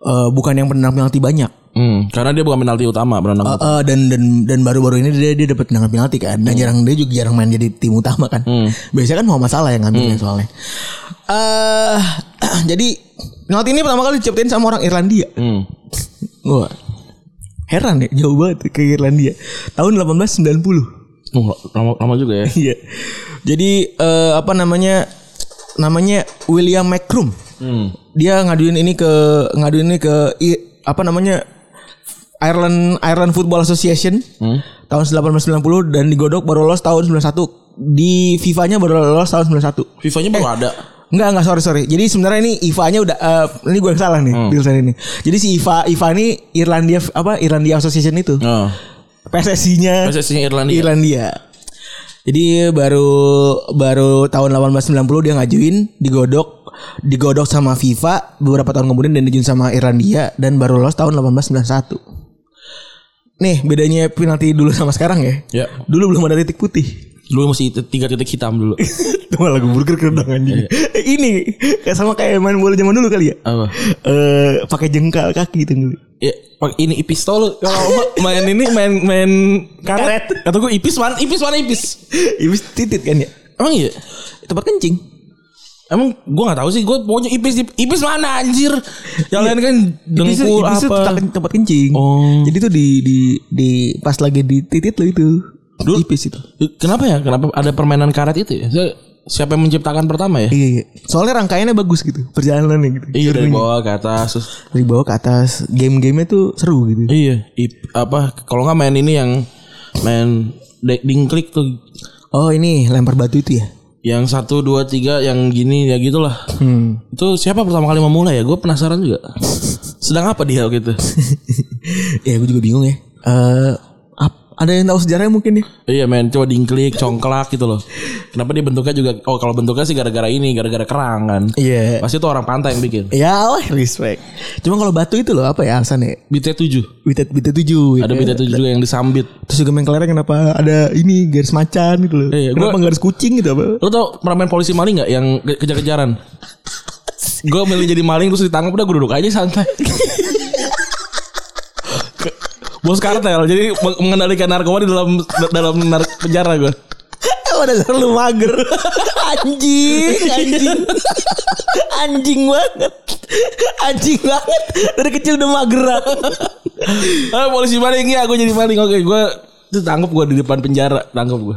Speaker 4: eh, bukan yang pernah penalti banyak.
Speaker 3: hmm, karena dia bukan penalti utama berenang
Speaker 4: Eh, eh, dan dan dan baru-baru ini dia dia dapat tendangan penalti kan. Dan jarang dia juga jarang main jadi tim utama kan. Biasanya kan mau masalah yang ngambilnya soalnya. Eh jadi penalti ini pertama kali diciptain sama orang Irlandia.
Speaker 3: hmm.
Speaker 4: Wah. Heran ya, jauh banget ke Irlandia. Tahun 1890.
Speaker 3: Oh, lama, lama juga ya
Speaker 4: Iya. Jadi eh, apa namanya? Namanya William McCrum.
Speaker 3: Hmm.
Speaker 4: Dia ngaduin ini ke ngaduin ini ke I- apa namanya? Ireland Ireland Football Association tahun 1890 dan digodok baru lolos tahun 91. Di FIFA-nya baru lolos tahun 91.
Speaker 3: FIFA-nya baru ada
Speaker 4: Enggak enggak sorry sorry. Jadi sebenarnya ini IFA-nya udah eh, ini gue yang salah nih tulisan ini. Jadi si IFA IFA ini Irlandia apa Irlandia Association itu.
Speaker 3: Heeh.
Speaker 4: PSSI-nya
Speaker 3: PSSI Irlandia
Speaker 4: Irlandia. Jadi baru baru tahun 1890 dia ngajuin digodok digodok sama FIFA beberapa tahun kemudian dan dijuin sama Irlandia dan baru lolos tahun 1891. Nih bedanya penalti dulu sama sekarang ya.
Speaker 3: ya
Speaker 4: Dulu belum ada titik putih.
Speaker 3: dulu masih t- tiga titik hitam dulu
Speaker 4: Itu malah gue burger keredang anjing. Eh, Ini kayak sama kayak main bola zaman dulu kali ya.
Speaker 3: apa
Speaker 4: Eh pakai jengkal kaki gitu. itu ngeli.
Speaker 3: ya pak- ini pistol lu. kalau ma- main ini main main karet kata gue ipis mana ipis mana ipis
Speaker 4: Ibis titit kan ya.
Speaker 3: emang iya
Speaker 4: Tempat kencing.
Speaker 3: Emang gue gak tahu sih, gue pokoknya ipis ipis mana anjir? Yang lain kan
Speaker 4: Ibis itu-
Speaker 3: dengkul
Speaker 4: ibis itu
Speaker 3: apa?
Speaker 4: tempat, tempat kencing.
Speaker 3: Oh.
Speaker 4: Jadi tuh di di di pas lagi di titit lo itu.
Speaker 3: Dulu-
Speaker 4: Ipis itu.
Speaker 3: Kenapa ya? Kenapa ada permainan karet itu ya? Saya- Siapa yang menciptakan pertama ya?
Speaker 4: Iya, iya. Soalnya rangkaiannya bagus gitu. Perjalanannya gitu.
Speaker 3: Iya dari
Speaker 4: Journey-nya.
Speaker 3: bawah ke atas. terus-
Speaker 4: Dari bawah ke atas. Game-gamenya tuh seru gitu.
Speaker 3: Iya, ip- apa kalau nggak main ini yang main de- dingklik tuh
Speaker 4: Oh ini lempar batu itu ya.
Speaker 3: yang satu dua tiga yang gini ya gitulah.
Speaker 4: Hmm.
Speaker 3: Itu siapa pertama kali memulai ya? Gue penasaran juga. Sedang apa dia gitu?
Speaker 4: ya gue juga bingung ya. Eh ap- ada yang tahu sejarahnya mungkin ya?
Speaker 3: Iya men, coba dingklik, congklak gitu loh. Kenapa dia bentuknya juga? Oh kalau bentuknya sih gara-gara ini, gara-gara kerang kan.
Speaker 4: Iya.
Speaker 3: Pasti itu orang pantai yang bikin.
Speaker 4: Ya wah respect. Cuma kalau batu itu loh apa ya alasannya?
Speaker 3: BT7.
Speaker 4: Bitet bitet tujuh.
Speaker 3: Ada BT7 juga yang disambit.
Speaker 4: Terus juga main kelereng kenapa ada ini garis macan gitu loh.
Speaker 3: Iya,
Speaker 4: kenapa
Speaker 3: gua-
Speaker 4: garis kucing gitu apa?
Speaker 3: Lo tau pernah main polisi maling nggak yang ke- kejar-kejaran? gue milih jadi maling terus ditangkap udah gue duduk aja santai. Ke- Bos kartel jadi meng- mengendalikan narkoba di dalam dalam nar- penjara gue.
Speaker 4: Pada dasar lu mager. anjing, anjing. anjing banget. Anjing banget. Dari kecil udah mageran.
Speaker 3: Ah, polisi maling ya, gue jadi maling. Oke, gue itu tangkap gue di depan penjara, tangkap gue.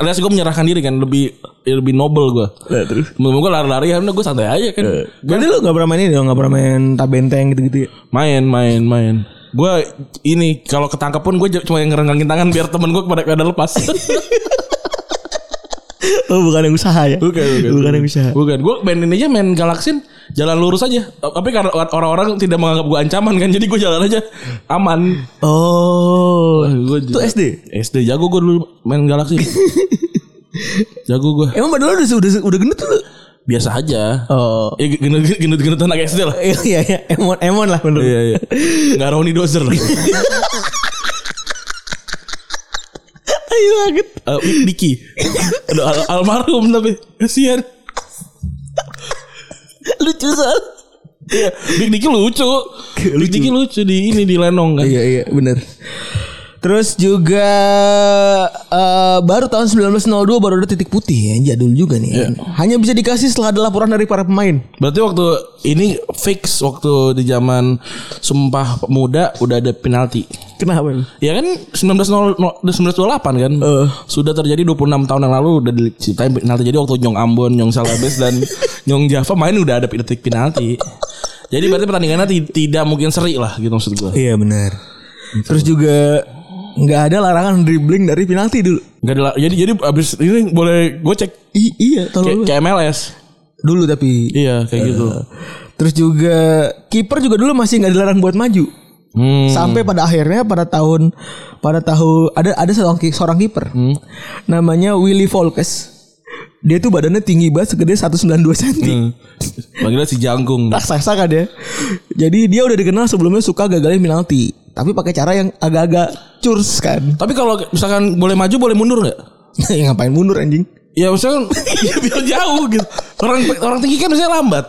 Speaker 3: Alias gue menyerahkan diri kan, lebih ya lebih noble gue.
Speaker 4: Nah, terus? Eh.
Speaker 3: Temen gue lari-lari, karena gue santai aja kan.
Speaker 4: Berarti lu gak pernah main ini dong, gak pernah main tabenteng gitu-gitu ya?
Speaker 3: Main, main, main. Gue ini kalau ketangkep pun gue cuma yang ngerenggangin tangan biar temen gue pada pada lepas.
Speaker 4: Oh bukan yang usaha ya?
Speaker 3: bukan, bukan,
Speaker 4: yang usaha.
Speaker 3: Bukan, gue main ini aja main galaksin jalan lurus aja. Tapi karena orang-orang tidak menganggap gue ancaman kan, jadi gue jalan aja aman.
Speaker 4: Oh.
Speaker 3: Gua
Speaker 4: Itu
Speaker 3: juga-
Speaker 4: SD?
Speaker 3: SD jago gue dulu main galaksi. jago gue.
Speaker 4: Emang badan lu udah, udah, udah gendut lu?
Speaker 3: Biasa aja.
Speaker 4: Oh.
Speaker 3: Ya gendut gendut gendut anak SD lah.
Speaker 4: Iya iya iya. Emon emon lah menurut.
Speaker 3: Iya iya. Enggak Roni Dozer Eh, lah.
Speaker 4: Ayo banget.
Speaker 3: Eh, Diki. Aduh, al- almarhum tapi kasihan.
Speaker 4: Lucu soal.
Speaker 3: Iya, Big Diki lucu. Big Diki lucu di ini di Lenong kan.
Speaker 4: Iya iya benar. Terus juga eh, baru tahun 1902 baru ada titik putih ya jadul juga nih. kan. Hanya bisa dikasih setelah ada laporan dari para pemain.
Speaker 3: Berarti waktu ini fix waktu di zaman Sumpah Pemuda udah ada penalti.
Speaker 4: Kenapa? lu?
Speaker 3: Ya kan 1900 1928 kan Sudah terjadi 26 tahun yang lalu Udah diciptain penalti Jadi waktu Nyong Ambon Nyong Salabes dan Nyong Java main udah ada detik penalti Jadi berarti pertandingannya ti- tidak mungkin seri lah gitu maksud gue
Speaker 4: Iya benar. Terus juga nggak ada larangan dribbling dari penalti dulu.
Speaker 3: Nggak ada la- Jadi jadi abis ini boleh gue cek
Speaker 4: I- iya
Speaker 3: kayak,
Speaker 4: tolong lu.
Speaker 3: kayak MLS
Speaker 4: dulu tapi.
Speaker 3: Iya kayak gitu
Speaker 4: Terus juga kiper juga dulu masih nggak dilarang buat maju.
Speaker 3: hmm.
Speaker 4: sampai pada akhirnya pada tahun pada tahun ada ada seorang ki- seorang kiper namanya Willy Volkes dia tuh badannya tinggi banget segede 192 cm
Speaker 3: Hmm. Panggilnya si Jangkung
Speaker 4: raksasa kan ya jadi dia udah dikenal sebelumnya suka gagalin penalti tapi pakai cara yang agak-agak curs kan
Speaker 3: Tapi kalau misalkan boleh maju boleh mundur nggak?
Speaker 4: ya ngapain mundur anjing
Speaker 3: Ya maksudnya ya biar jauh gitu Orang orang tinggi kan biasanya lambat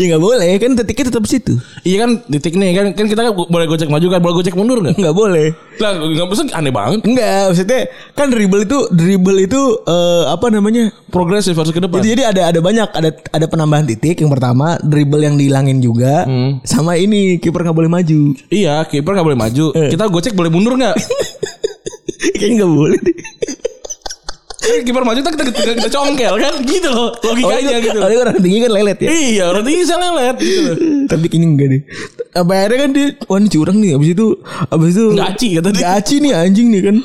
Speaker 4: ya nggak boleh kan titiknya tetap situ
Speaker 3: Iya kan titik nih kan kan kita kan boleh gocek maju kan boleh gocek mundur nggak?
Speaker 4: nggak boleh
Speaker 3: Lah nggak maksudnya aneh banget.
Speaker 4: Enggak, maksudnya kan dribble itu dribble itu eh, apa namanya
Speaker 3: Progresif harus ke depan.
Speaker 4: Jadi, jadi ada ada banyak ada ada penambahan titik yang pertama dribble yang dihilangin juga sama ini kiper nggak boleh maju
Speaker 3: iya kiper nggak boleh maju. Kita gocek boleh mundur nggak?
Speaker 4: kayaknya nggak boleh deh
Speaker 3: Kan kiper maju kita, kita kita kita congkel kan gitu loh logikanya
Speaker 4: Orang-
Speaker 3: gitu.
Speaker 4: Oh, iya. orang- orang tinggi kan lelet ya
Speaker 3: Iya orang tinggi bisa lelet gitu loh.
Speaker 4: tapi kayaknya enggak deh Apa akhirnya kan dia wah ini curang nih abis itu abis itu
Speaker 3: Nggak aci kata dia.
Speaker 4: Nggak aci nih anjing nih kan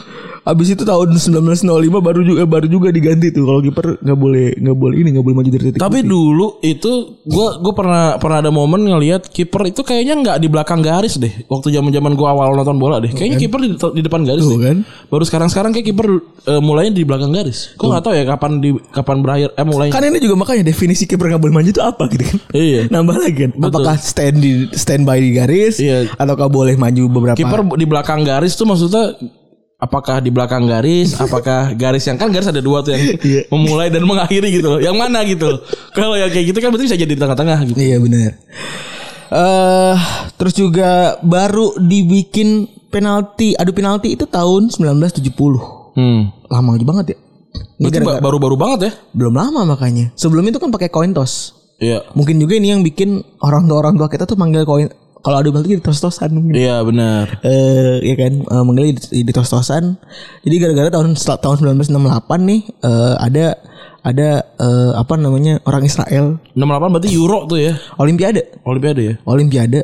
Speaker 4: abis itu tahun 1905 baru juga baru juga diganti tuh kalau kiper nggak boleh nggak boleh ini nggak boleh maju dari titik
Speaker 3: Tapi dulu itu gua gua pernah pernah ada momen ngelihat kiper itu kayaknya nggak di belakang garis deh. Waktu zaman-zaman gua awal nonton bola deh. Kayaknya kiper di, di depan garis
Speaker 4: kan. Tuh
Speaker 3: deh.
Speaker 4: kan.
Speaker 3: Baru sekarang-sekarang kayak kiper eh, mulainya di belakang garis. Gua nggak tahu ya kapan di kapan berakhir eh mulainya.
Speaker 4: kan ini juga makanya definisi kiper nggak boleh maju itu apa gitu kan
Speaker 3: Iya.
Speaker 4: nambah lagi kan apakah stand di standby di garis
Speaker 3: Iya.
Speaker 4: ataukah boleh maju beberapa
Speaker 3: kiper di belakang garis tuh maksudnya apakah di belakang garis apakah garis yang kan garis ada dua tuh yang
Speaker 4: Iya.
Speaker 3: memulai dan mengakhiri gitu loh yang mana gitu loh. kalau yang kayak gitu kan berarti bisa jadi di tengah-tengah gitu
Speaker 4: Iya benar. Eh terus juga baru dibikin penalti adu penalti itu tahun 1970.
Speaker 3: hmm.
Speaker 4: Lama aja banget ya. Ini
Speaker 3: berarti
Speaker 4: gara-gara-
Speaker 3: ba- baru-baru banget ya
Speaker 4: belum lama makanya. Sebelum itu kan pakai koin toss.
Speaker 3: iya
Speaker 4: Mungkin juga ini yang bikin orang tua orang tua kita tuh manggil koin kalau adu penalti di tos-tosan mungkin.
Speaker 3: iya benar
Speaker 4: Eh ya kan eh, manggilnya di, di tos-tosan. Jadi gara-gara tahun setelah tahun 1968 nih eh, ada ada eh, apa namanya orang Israel
Speaker 3: 68 berarti euro tuh ya
Speaker 4: Olimpiade.
Speaker 3: olimpiade ya
Speaker 4: Olimpiade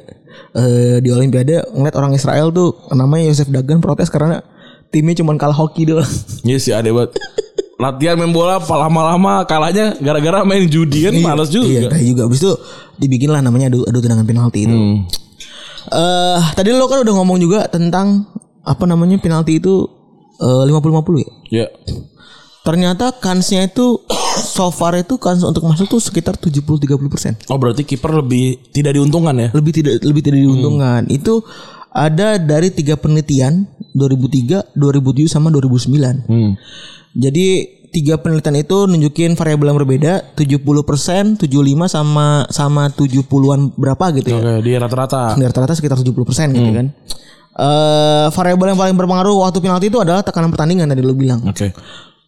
Speaker 4: eh, di Olimpiade ngeliat orang Israel tuh namanya Yosef Dagan protes karena timnya cuma kalah hoki doang.
Speaker 3: iya sih ada banget latihan main bola apa lama-lama kalahnya gara-gara main judi kan males
Speaker 4: Iya,
Speaker 3: juga
Speaker 4: kayak juga. Abis itu dibikin lah namanya adu, adu tendangan penalti itu. Eh,
Speaker 3: Hmm,
Speaker 4: tadi lo kan udah ngomong juga tentang apa namanya penalti itu eh, 50-50 ya.
Speaker 3: iya
Speaker 4: Ternyata kansnya itu so far itu kans untuk masuk tuh sekitar 70-30%.
Speaker 3: oh berarti kiper lebih tidak diuntungkan ya
Speaker 4: Lebih tidak lebih tidak diuntungkan. Itu ada dari tiga penelitian 2003, 2007 sama 2009.
Speaker 3: hmm.
Speaker 4: Jadi tiga penelitian itu nunjukin variabel yang berbeda 70%, 75 sama sama 70-an berapa gitu ya.
Speaker 3: oke dia rata-rata
Speaker 4: Dan Rata-rata sekitar 70% gitu kan. Eh variabel yang paling berpengaruh waktu penalti itu adalah tekanan pertandingan tadi lu bilang.
Speaker 3: oke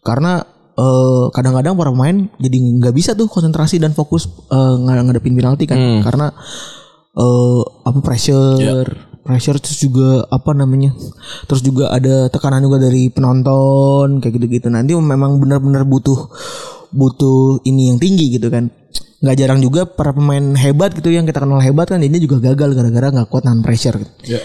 Speaker 4: Karena eh eh, kadang-kadang para pemain jadi nggak bisa tuh konsentrasi dan fokus eh, ng- ngadepin penalti kan karena eh, apa pressure pressure terus juga apa namanya terus juga ada tekanan juga dari penonton kayak gitu-gitu nanti memang benar-benar butuh butuh ini yang tinggi gitu kan nggak jarang juga para pemain hebat gitu yang kita kenal hebat kan dia juga gagal gara-gara nggak kuat nahan pressure gitu.
Speaker 3: Iya.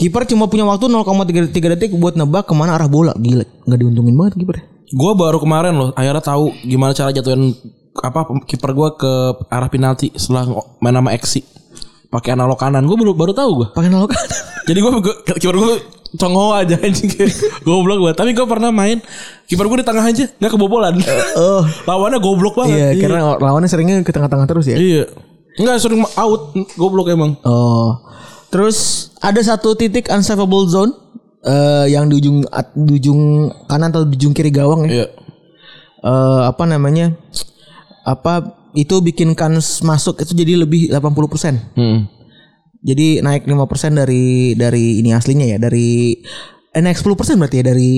Speaker 4: Kiper cuma punya waktu 0,3 detik buat nebak kemana arah bola. Gila, nggak diuntungin banget kiper.
Speaker 3: Gue baru kemarin loh akhirnya tahu gimana cara jatuhin apa kiper gue ke arah penalti setelah ngo- main sama Exi pakai analog kanan gue baru baru tahu gue
Speaker 4: Pakai nolak.
Speaker 3: jadi gue kiper gue congo aja anjing goblok gue tapi gue pernah main kiper gue di tengah aja nggak kebobolan lawannya goblok
Speaker 4: Iya,
Speaker 3: banget
Speaker 4: karena lawannya seringnya ke tengah-tengah terus ya.
Speaker 3: iya nggak sering out goblok emang
Speaker 4: Oh. Terus ada satu titik unsaveable zone eh, yang di ujung at- di ujung kanan atau di ujung kiri gawang ya.
Speaker 3: iya
Speaker 4: Eh, apa namanya? Apa itu bikin kans masuk itu jadi lebih 80%.
Speaker 3: Hmm.
Speaker 4: Jadi naik 5% dari dari ini aslinya ya, dari eh naik 10% berarti ya dari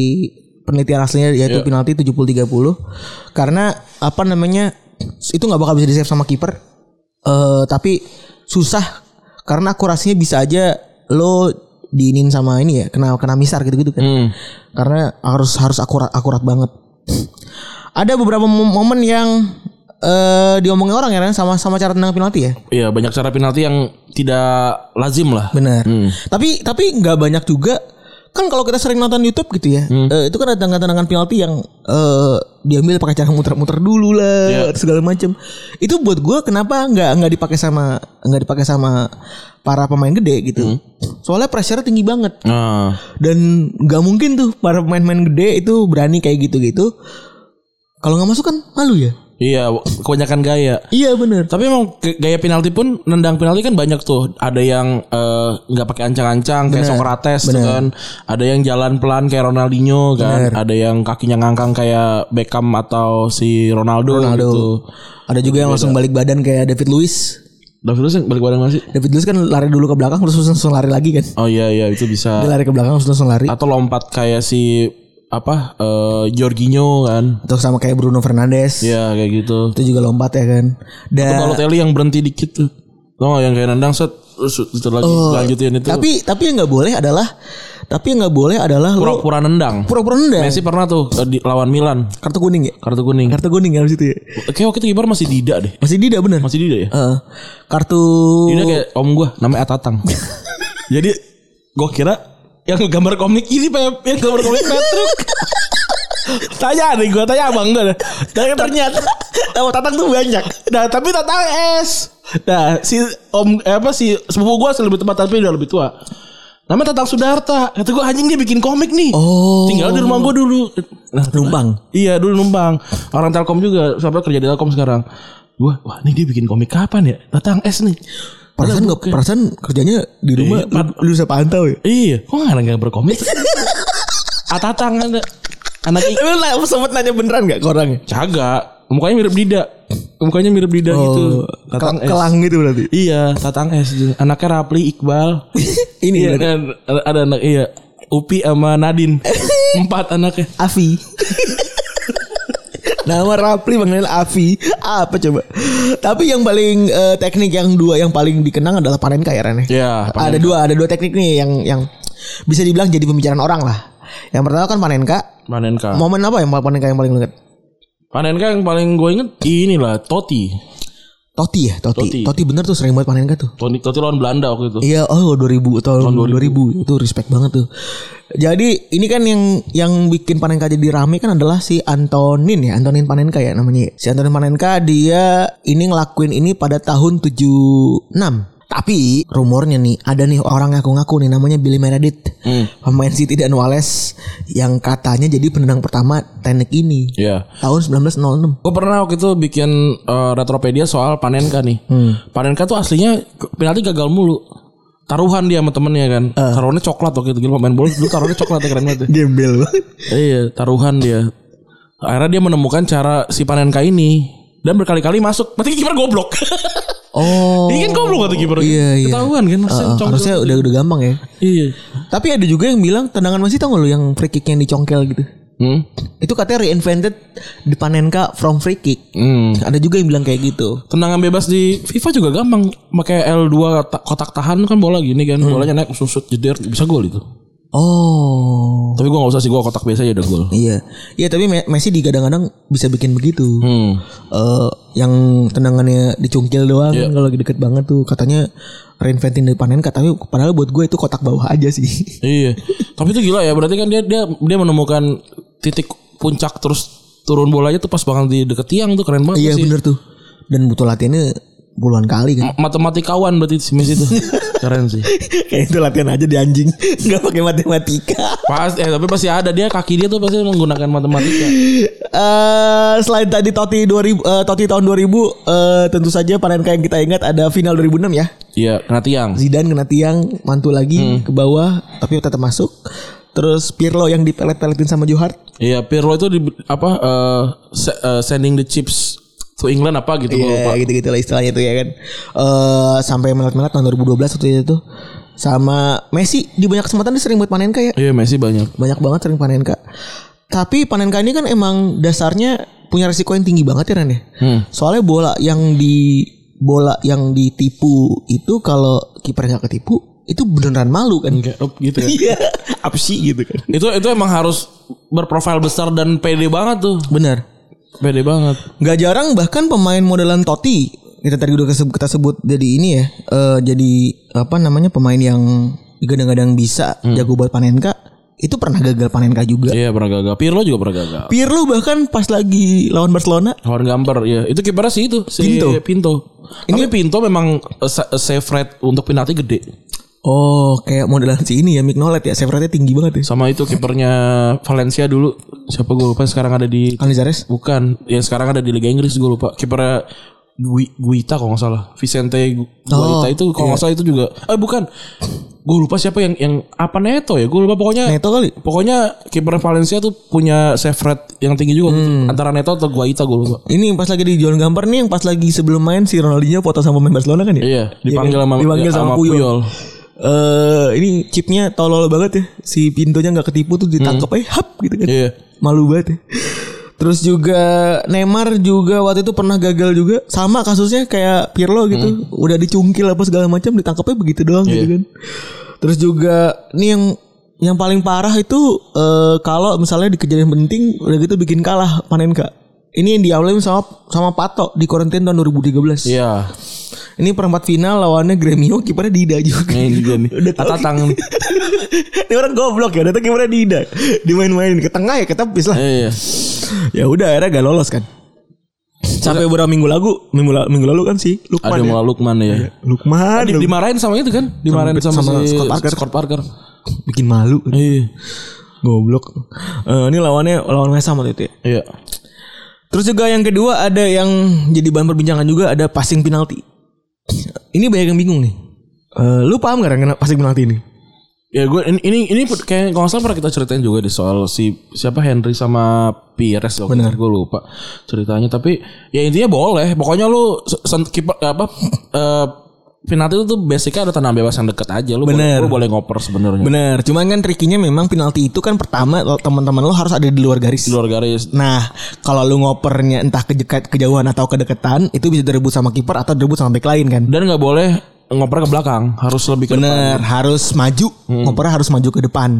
Speaker 4: penelitian aslinya yaitu penalti 70 30. Karena apa namanya? itu nggak bakal bisa di save sama kiper. Eh tapi susah karena akurasinya bisa aja lo diinin sama ini ya, kena kena misar gitu-gitu kan.
Speaker 3: Hmm.
Speaker 4: Karena harus harus akurat akurat banget. Ada beberapa mom- momen yang eh diomongin orang ya Ren, sama sama cara tendang penalti ya.
Speaker 3: Iya banyak cara penalti yang tidak lazim lah. Hmm.
Speaker 4: Benar. Tapi tapi nggak banyak juga kan kalau kita sering nonton YouTube gitu ya, eh, itu kan ada tendangan-tendangan penalti yang eh, diambil pakai cara muter-muter dulu lah segala macam. Itu buat gua kenapa nggak nggak dipakai sama nggak dipakai sama para pemain gede gitu. Soalnya pressure tinggi banget
Speaker 3: Nah,
Speaker 4: dan nggak mungkin tuh para pemain-pemain gede itu berani kayak gitu-gitu. Kalau nggak masuk kan malu ya.
Speaker 3: iya kebanyakan gaya.
Speaker 4: Iya bener
Speaker 3: Tapi emang ke- gaya penalti pun nendang penalti kan banyak tuh. Ada yang eh, nggak pakai ancang-ancang kayak Socrates tuh kan. Ada yang jalan pelan kayak Ronaldinho kan. Ada yang kakinya ngangkang kayak Beckham atau si Ronaldo,
Speaker 4: Ronaldo.
Speaker 3: gitu.
Speaker 4: Ada juga yang langsung balik badan kayak David Luiz.
Speaker 3: David Luiz yang balik badan mana sih?
Speaker 4: David Luiz kan lari dulu ke belakang terus langsung lari lagi kan.
Speaker 3: Oh iya iya itu bisa.
Speaker 4: Dia lari ke belakang terus langsung lari.
Speaker 3: Atau lompat kayak si apa eh Jorginho kan.
Speaker 4: Atau sama kayak Bruno Fernandes.
Speaker 3: Iya kayak gitu.
Speaker 4: Itu juga lompat ya kan. Dan
Speaker 3: Kalau Teli yang berhenti dikit tuh. Tau nggak yang kayak nendang set terus itu lagi lanjutin itu.
Speaker 4: Oh, tapi tapi yang nggak boleh adalah tapi yang nggak boleh adalah lu
Speaker 3: pura-pura nendang.
Speaker 4: pura-pura nendang.
Speaker 3: Messi pernah tuh eh, di lawan Milan
Speaker 4: Kartu kuning ya.
Speaker 3: kartu kuning.
Speaker 4: Kartu kuning harus itu ya.
Speaker 3: Oke waktu itu kiper masih Dida deh. Eh,
Speaker 4: Masih Dida bener.
Speaker 3: Masih Dida ya?
Speaker 4: Eh, kartu
Speaker 3: Dida kayak om gua namanya Atatang. Jadi gua kira yang gambar komik ini Pep, yang gambar komik Petruk. tanya nih gua tanya abang gua dah. Dan ternyata
Speaker 4: Oh, tatang tuh banyak.
Speaker 3: Nah tapi Tatang S Nah si om eh, apa si sepupu gue lebih tepat tapi udah lebih tua Namanya Tatang Sudarta Kata gue anjing dia bikin komik nih
Speaker 4: Oh.
Speaker 3: Tinggal di rumah gue dulu Nah
Speaker 4: Numpang.
Speaker 3: Iya dulu numpang Orang Telkom juga Sampai kerja di Telkom sekarang Gue wah ini dia bikin komik kapan ya Tatang S nih
Speaker 4: Perasaan nggak perasaan kerjanya di rumah
Speaker 3: Iya, Pat.
Speaker 4: lu bisa pantau ya.
Speaker 3: Iya Kok gak ada yang berkomik Atatang ada Anak i-
Speaker 4: Lu lah, sempet nanya beneran gak ke
Speaker 3: ya?
Speaker 4: orangnya?
Speaker 3: Jaga Mukanya mirip Dida Mukanya mirip Dida gitu
Speaker 4: Oh,
Speaker 3: Tatang
Speaker 4: kelang,
Speaker 3: S
Speaker 4: kelang gitu berarti.
Speaker 3: Iya, Tatang S juga. Anaknya Rapli Iqbal.
Speaker 4: Ini
Speaker 3: iya,
Speaker 4: berarti.
Speaker 3: kan? ada, ada anak iya. Upi sama Nadin. Empat anaknya.
Speaker 4: Avi. Nama Rapli manggil Avi. Apa coba? Tapi yang paling eh, teknik yang dua yang paling dikenang adalah panen kaya Ren. ya?
Speaker 3: Iya, Panenka.
Speaker 4: Ada dua, ada dua teknik nih yang yang bisa dibilang jadi pembicaraan orang lah. Yang pertama kan Panenka.
Speaker 3: Panenka.
Speaker 4: Momen apa yang Panenka yang paling dekat?
Speaker 3: Panenka yang paling gue inget inilah Toti.
Speaker 4: Toti ya,
Speaker 3: Totti.
Speaker 4: Toti. Toti, bener tuh sering banget Panenka tuh.
Speaker 3: Toti, Toti lawan Belanda waktu itu.
Speaker 4: Iya, oh 2000 tahun 2000. itu respect banget tuh. Jadi ini kan yang yang bikin Panenka jadi rame kan adalah si Antonin ya, Antonin Panenka ya namanya. Si Antonin Panenka dia ini ngelakuin ini pada tahun 76. Tapi rumornya nih ada nih orang ngaku-ngaku nih namanya Billy Meredith. Pemain City dan Wales yang katanya jadi penendang pertama teknik ini.
Speaker 3: Iya.
Speaker 4: Tahun 1906.
Speaker 3: Gue pernah waktu itu bikin eh, retropedia soal Panenka nih. Panenka tuh aslinya ke- penalti gagal mulu. Taruhan dia sama temennya kan. Taruhannya coklat waktu itu. Gila pemain bola dulu taruhannya coklat ya, keren banget. ya.
Speaker 4: Gembel banget.
Speaker 3: iya, taruhan dia. Akhirnya dia menemukan cara si Panenka ini dan berkali-kali masuk. Berarti kiper goblok.
Speaker 4: Oh.
Speaker 3: Ini kan goblok kata kiper.
Speaker 4: Iya, iya.
Speaker 3: Ketahuan kan maksudnya
Speaker 4: Uh,
Speaker 3: congkel.
Speaker 4: harusnya udah udah gampang ya.
Speaker 3: Iya.
Speaker 4: Tapi ada juga yang bilang tendangan masih tau gak lu yang free kick yang dicongkel gitu.
Speaker 3: Hmm?
Speaker 4: Itu katanya reinvented di Panenka from free kick.
Speaker 3: Hmm.
Speaker 4: Ada juga yang bilang kayak gitu.
Speaker 3: Tendangan bebas di FIFA juga gampang. Pakai L2 ta- kotak tahan kan bola gini kan. Bolanya naik susut jeder bisa gol itu.
Speaker 4: Oh.
Speaker 3: Tapi gua nggak usah sih gua kotak biasa aja udah gol.
Speaker 4: Iya. Iya, tapi Me- Messi di kadang-kadang bisa bikin begitu.
Speaker 3: Hmm.
Speaker 4: Eh, yang tendangannya dicungkil doang
Speaker 3: Iya.
Speaker 4: kan kalau lagi deket banget tuh katanya reinventing di Panenka tapi padahal buat gue itu kotak bawah aja sih.
Speaker 3: Iya. Tapi itu gila ya. Berarti kan dia dia dia menemukan titik puncak terus turun bolanya tuh pas banget di deket tiang tuh keren banget
Speaker 4: iya
Speaker 3: sih.
Speaker 4: bener tuh. Dan butuh latihannya puluhan kali kan.
Speaker 3: Ma- Matematikawan berarti si Messi itu. keren sih.
Speaker 4: Kayak itu latihan aja di anjing, nggak pakai matematika.
Speaker 3: Pas eh tapi pasti ada dia kaki dia tuh pasti menggunakan matematika.
Speaker 4: Eh selain tadi Toti 2000 eh, Totti tahun 2000 eh, tentu saja Panenka yang kita ingat ada final 2006 ya.
Speaker 3: Iya, kena tiang.
Speaker 4: Zidane kena tiang, mantul lagi ke bawah tapi tetap masuk. Terus Pirlo yang dipelet-peletin sama Johart.
Speaker 3: Iya, Pirlo itu di apa eh, se- eh, sending the chips to England apa gitu gua lupa.
Speaker 4: Iya gitu-gitu lah istilahnya tuh ya kan. Eh sampai melat-melat tahun 2012 waktu itu tuh sama Messi di banyak kesempatan dia sering buat Panenka ya.
Speaker 3: Iya, Messi banyak.
Speaker 4: Banyak banget sering Panenka. Tapi Panenka ini kan emang dasarnya punya resiko yang tinggi banget ya Ren ya.
Speaker 3: Hmm.
Speaker 4: Soalnya bola yang di bola yang ditipu itu kalau kiper nggak ketipu itu beneran malu kan?
Speaker 3: Kayak up gitu ya.
Speaker 4: Iya, apa sih gitu kan?
Speaker 3: itu itu emang harus berprofil besar dan pede banget tuh.
Speaker 4: Bener.
Speaker 3: Pede banget.
Speaker 4: Gak jarang bahkan pemain modelan Totti kita tadi udah kesebut, kita sebut jadi ini ya, eh, jadi apa namanya pemain yang digadang-gadang bisa jago buat Panenka itu pernah gagal Panenka juga.
Speaker 3: Hmm. Iya, pernah gagal. Pirlo juga pernah gagal.
Speaker 4: Pirlo bahkan pas lagi lawan Barcelona
Speaker 3: Lawan gambar ya. Itu kipernya sih itu si
Speaker 4: Pinto.
Speaker 3: Pinto. Ini Tapi Pinto memang eh, sa- eh, save rate untuk penalti gede.
Speaker 4: Oh kayak modelan si ini ya Mignolet ya save rate-nya tinggi banget ya
Speaker 3: Sama itu kipernya Valencia dulu. Siapa gue lupa sekarang ada di
Speaker 4: Canizares
Speaker 3: bukan yang sekarang ada di Liga Inggris gue lupa. Kipernya Gui- Guita kalau nggak salah. Vicente Gu-
Speaker 4: Oh,
Speaker 3: Guita itu kalau nggak salah itu juga. Eh bukan. Gue lupa siapa yang yang apa Neto ya? Gue lupa pokoknya
Speaker 4: Neto kali
Speaker 3: Pokoknya kiper Valencia tuh punya save rate yang tinggi juga
Speaker 4: Hmm.
Speaker 3: antara Neto atau Guaita gue lupa.
Speaker 4: Ini yang pas lagi di John Gamper nih yang pas lagi sebelum main si Ronaldinho foto sama pemain Barcelona kan ya?
Speaker 3: Iya, dipanggil
Speaker 4: Iya kan?
Speaker 3: sama-
Speaker 4: dipanggil sama,
Speaker 3: sama
Speaker 4: Puyol.
Speaker 3: Puyol.
Speaker 4: Eh, ini chipnya tolol banget ya. Si pintunya nggak ketipu tuh ditangkap eh hap gitu kan.
Speaker 3: Hmm. Iya.
Speaker 4: Malu banget ya. Terus juga Neymar juga waktu itu pernah gagal juga sama kasusnya kayak Pirlo
Speaker 3: Hmm.
Speaker 4: gitu. Udah dicungkil apa segala macam ditangkapnya begitu doang
Speaker 3: Iya.
Speaker 4: gitu kan. Terus juga nih yang yang paling parah itu eh, kalau misalnya di kejadian penting udah gitu bikin kalah Panenka. Ini yang dialamin sama sama Pato di Korentin tahun 2013.
Speaker 3: Iya.
Speaker 4: Ini perempat final lawannya Gremio kipernya Dida juga.
Speaker 3: Ini juga nih.
Speaker 4: Udah tahu.
Speaker 3: Tatang.
Speaker 4: Ini orang goblok ya, datang kipernya Dida. Dimain-mainin ke tengah ya ketepis lah.
Speaker 3: Iya.
Speaker 4: Ya udah akhirnya gak lolos kan. Sampai beberapa minggu lalu, minggu lalu, minggu lalu kan si
Speaker 3: Ada
Speaker 4: Lukman ya.
Speaker 3: malah Lukman ya.
Speaker 4: Lukman
Speaker 3: Di- dimarahin sama itu kan? Dimarahin sama,
Speaker 4: sama
Speaker 3: si
Speaker 4: Scott Parker.
Speaker 3: Scott Parker.
Speaker 4: bikin malu.
Speaker 3: Iya.
Speaker 4: Goblok. Eh, ini lawannya lawan West Ham waktu itu ya.
Speaker 3: Iya.
Speaker 4: Terus juga yang kedua ada yang jadi bahan perbincangan juga ada passing penalti. Ini banyak yang bingung nih. Eh, lu paham gak Ren, passing penalti ini?
Speaker 3: Ya gue ini ini, ini kayak kalau nggak salah pernah kita ceritain juga di soal si siapa Henry sama Pires waktu itu. gue lupa ceritanya tapi ya intinya boleh pokoknya lu se- sen- kiper apa eh penalti itu tuh basicnya ada tanah bebas yang deket aja lu boleh
Speaker 4: Bener.
Speaker 3: lu boleh ngoper sebenarnya
Speaker 4: Bener, cuman kan trikinya memang penalti itu kan pertama lo- teman-teman lo harus ada di luar garis.
Speaker 3: di luar garis
Speaker 4: Nah, kalau lu ngopernya entah ke dekat kejauhan atau kedeketan, itu bisa direbut sama kiper atau direbut sama back lain kan.
Speaker 3: dan nggak boleh ngoper ke belakang harus lebih ke depan. Hmm.
Speaker 4: Bener, harus maju, ngopernya harus maju ke depan.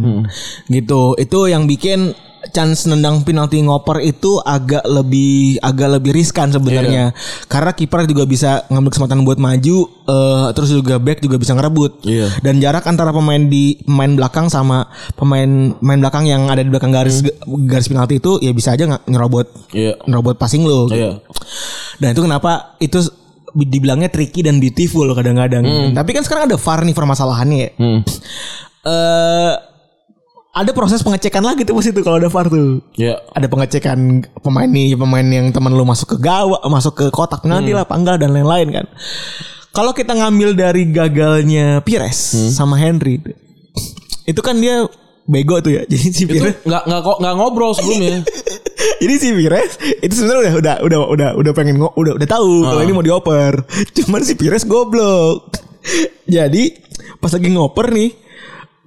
Speaker 4: Gitu. Itu yang bikin chance nendang penalti ngoper itu agak lebih agak lebih riskan sebenarnya.
Speaker 3: Iya.
Speaker 4: Karena kiper juga bisa ngambil kesempatan buat maju, eh, terus juga back juga bisa ngerebut.
Speaker 3: Iya.
Speaker 4: Dan jarak antara pemain di pemain belakang sama pemain main belakang yang ada di belakang garis garis penalti itu ya bisa aja nge- ngerobot
Speaker 3: iya
Speaker 4: robot passing lo.
Speaker 3: Iya.
Speaker 4: Dan itu kenapa itu s- dibilangnya tricky dan beautiful kadang-kadang. Tapi kan sekarang ada VAR nih permasalahannya. ya.
Speaker 3: Hmm.
Speaker 4: Eh, ada proses pengecekan lagi tuh pas itu kalau ada VAR tuh.
Speaker 3: Iya.
Speaker 4: Ada pengecekan pemain nih, pemain yang teman lu masuk ke gawa, masuk ke kotak penalti lah, panggal dan lain-lain kan. Kalau kita ngambil dari gagalnya Pires sama Henry itu, itu kan dia bego tuh ya. Jadi si
Speaker 3: Itu
Speaker 4: Pires
Speaker 3: nggak nggak kok nggak ngobrol sebelumnya.
Speaker 4: Jadi si Pires itu sebenarnya udah udah udah udah udah pengen ngo- udah udah tahu kalau ini mau dioper. Cuman si Pires goblok. Jadi pas lagi ngoper nih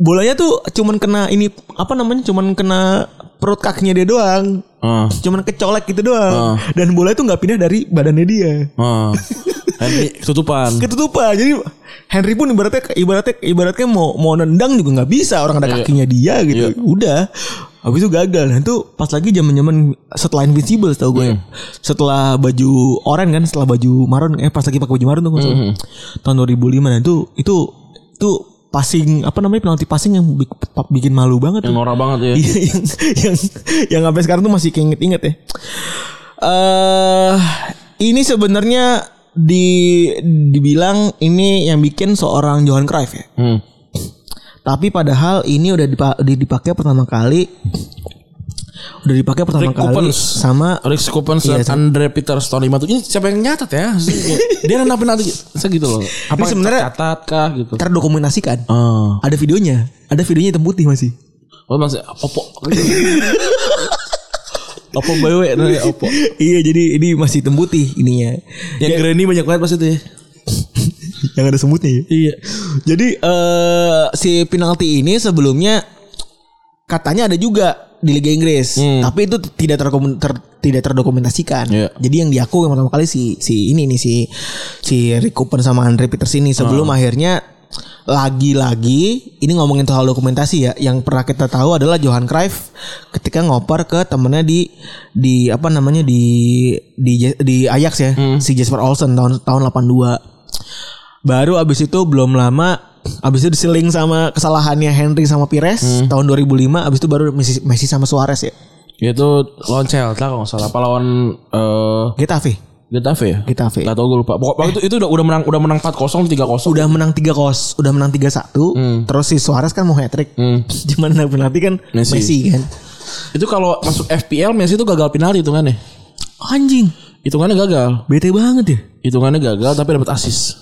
Speaker 4: bolanya tuh cuman kena ini apa namanya cuman kena perut kakinya dia doang.
Speaker 3: Ah.
Speaker 4: Cuman kecolek gitu doang. Dan bola itu nggak pindah dari badannya dia.
Speaker 3: Ah. Henry ketutupan.
Speaker 4: Ketutupan. Jadi Henry pun ibaratnya ibaratnya ibaratnya mau mau nendang juga nggak bisa orang ada kakinya dia gitu. Udah. Habis itu gagal. Nah itu pas lagi zaman-zaman setelah Invincible tau gue. ya. Setelah baju oranye kan, setelah baju marun eh pas lagi pakai baju marun tuh maksudnya. Tahun 2005 dan Nah, itu itu itu passing apa namanya penalti passing yang bi- bikin malu banget.
Speaker 3: Yang
Speaker 4: tuh.
Speaker 3: norak banget ya.
Speaker 4: Iya, yang yang yang sampai sekarang tuh masih keinget-inget ya. Eh ini sebenarnya di dibilang ini yang bikin seorang Johan Cruyff ya.
Speaker 3: Hmm.
Speaker 4: Tapi padahal ini udah dipa- udah dipakai pertama kali udah dipakai pertama
Speaker 3: Rick
Speaker 4: kali
Speaker 3: Coupens.
Speaker 4: sama
Speaker 3: Alex Coupens Ah, dan Andre Peter Stolima tuh ini siapa yang nyatat ya? Dia nanapin nanti segitu loh. Apa
Speaker 4: Ini sebenarnya-
Speaker 3: catat kah gitu?
Speaker 4: terdokumentasikan.
Speaker 3: Ah.
Speaker 4: Ada videonya, ada videonya hitam putih masih.
Speaker 3: Oh maksudnya opo. opo bewe dari opo.
Speaker 4: iya, jadi ini masih hitam putih ininya.
Speaker 3: Yang Granny banyak banget pas itu ya.
Speaker 4: yang ada semutnya ya.
Speaker 3: Iya.
Speaker 4: Jadi eh si penalti ini sebelumnya katanya ada juga di Liga Inggris, tapi itu tidak terdokum- ter- tidak terdokumentasikan.
Speaker 3: Iya.
Speaker 4: Jadi yang diaku yang pertama kali si si ini nih si si Rick Cooper sama Andre Peters ini sebelum akhirnya lagi-lagi ini ngomongin soal dokumentasi ya yang pernah kita tahu adalah Johan Cruyff ketika ngoper ke temennya di di apa namanya di di di Ajax ya si Jasper Olsen tahun tahun 82 Baru abis itu belum lama Abis itu diseling sama kesalahannya Henry sama Pires Tahun 2005 Abis itu baru Messi, Messi sama Suarez ya
Speaker 3: Itu lawan Celta kalau nggak salah. Apa lawan eh
Speaker 4: Getafe
Speaker 3: Getafe ya?
Speaker 4: Getafe
Speaker 3: Gak tau gue lupa. Pokok waktu itu, itu udah udah menang udah menang 4-0 3-0.
Speaker 4: Udah menang 3 kos Udah menang 3-1 Terus si Suarez kan mau hat-trick Cuman yang penalti kan
Speaker 3: Messi.
Speaker 4: Messi, kan
Speaker 3: Itu kalau masuk FPL Messi itu gagal penalti hitungannya.
Speaker 4: Anjing
Speaker 3: Hitungannya gagal.
Speaker 4: Bete banget ya
Speaker 3: Hitungannya gagal tapi dapat assist.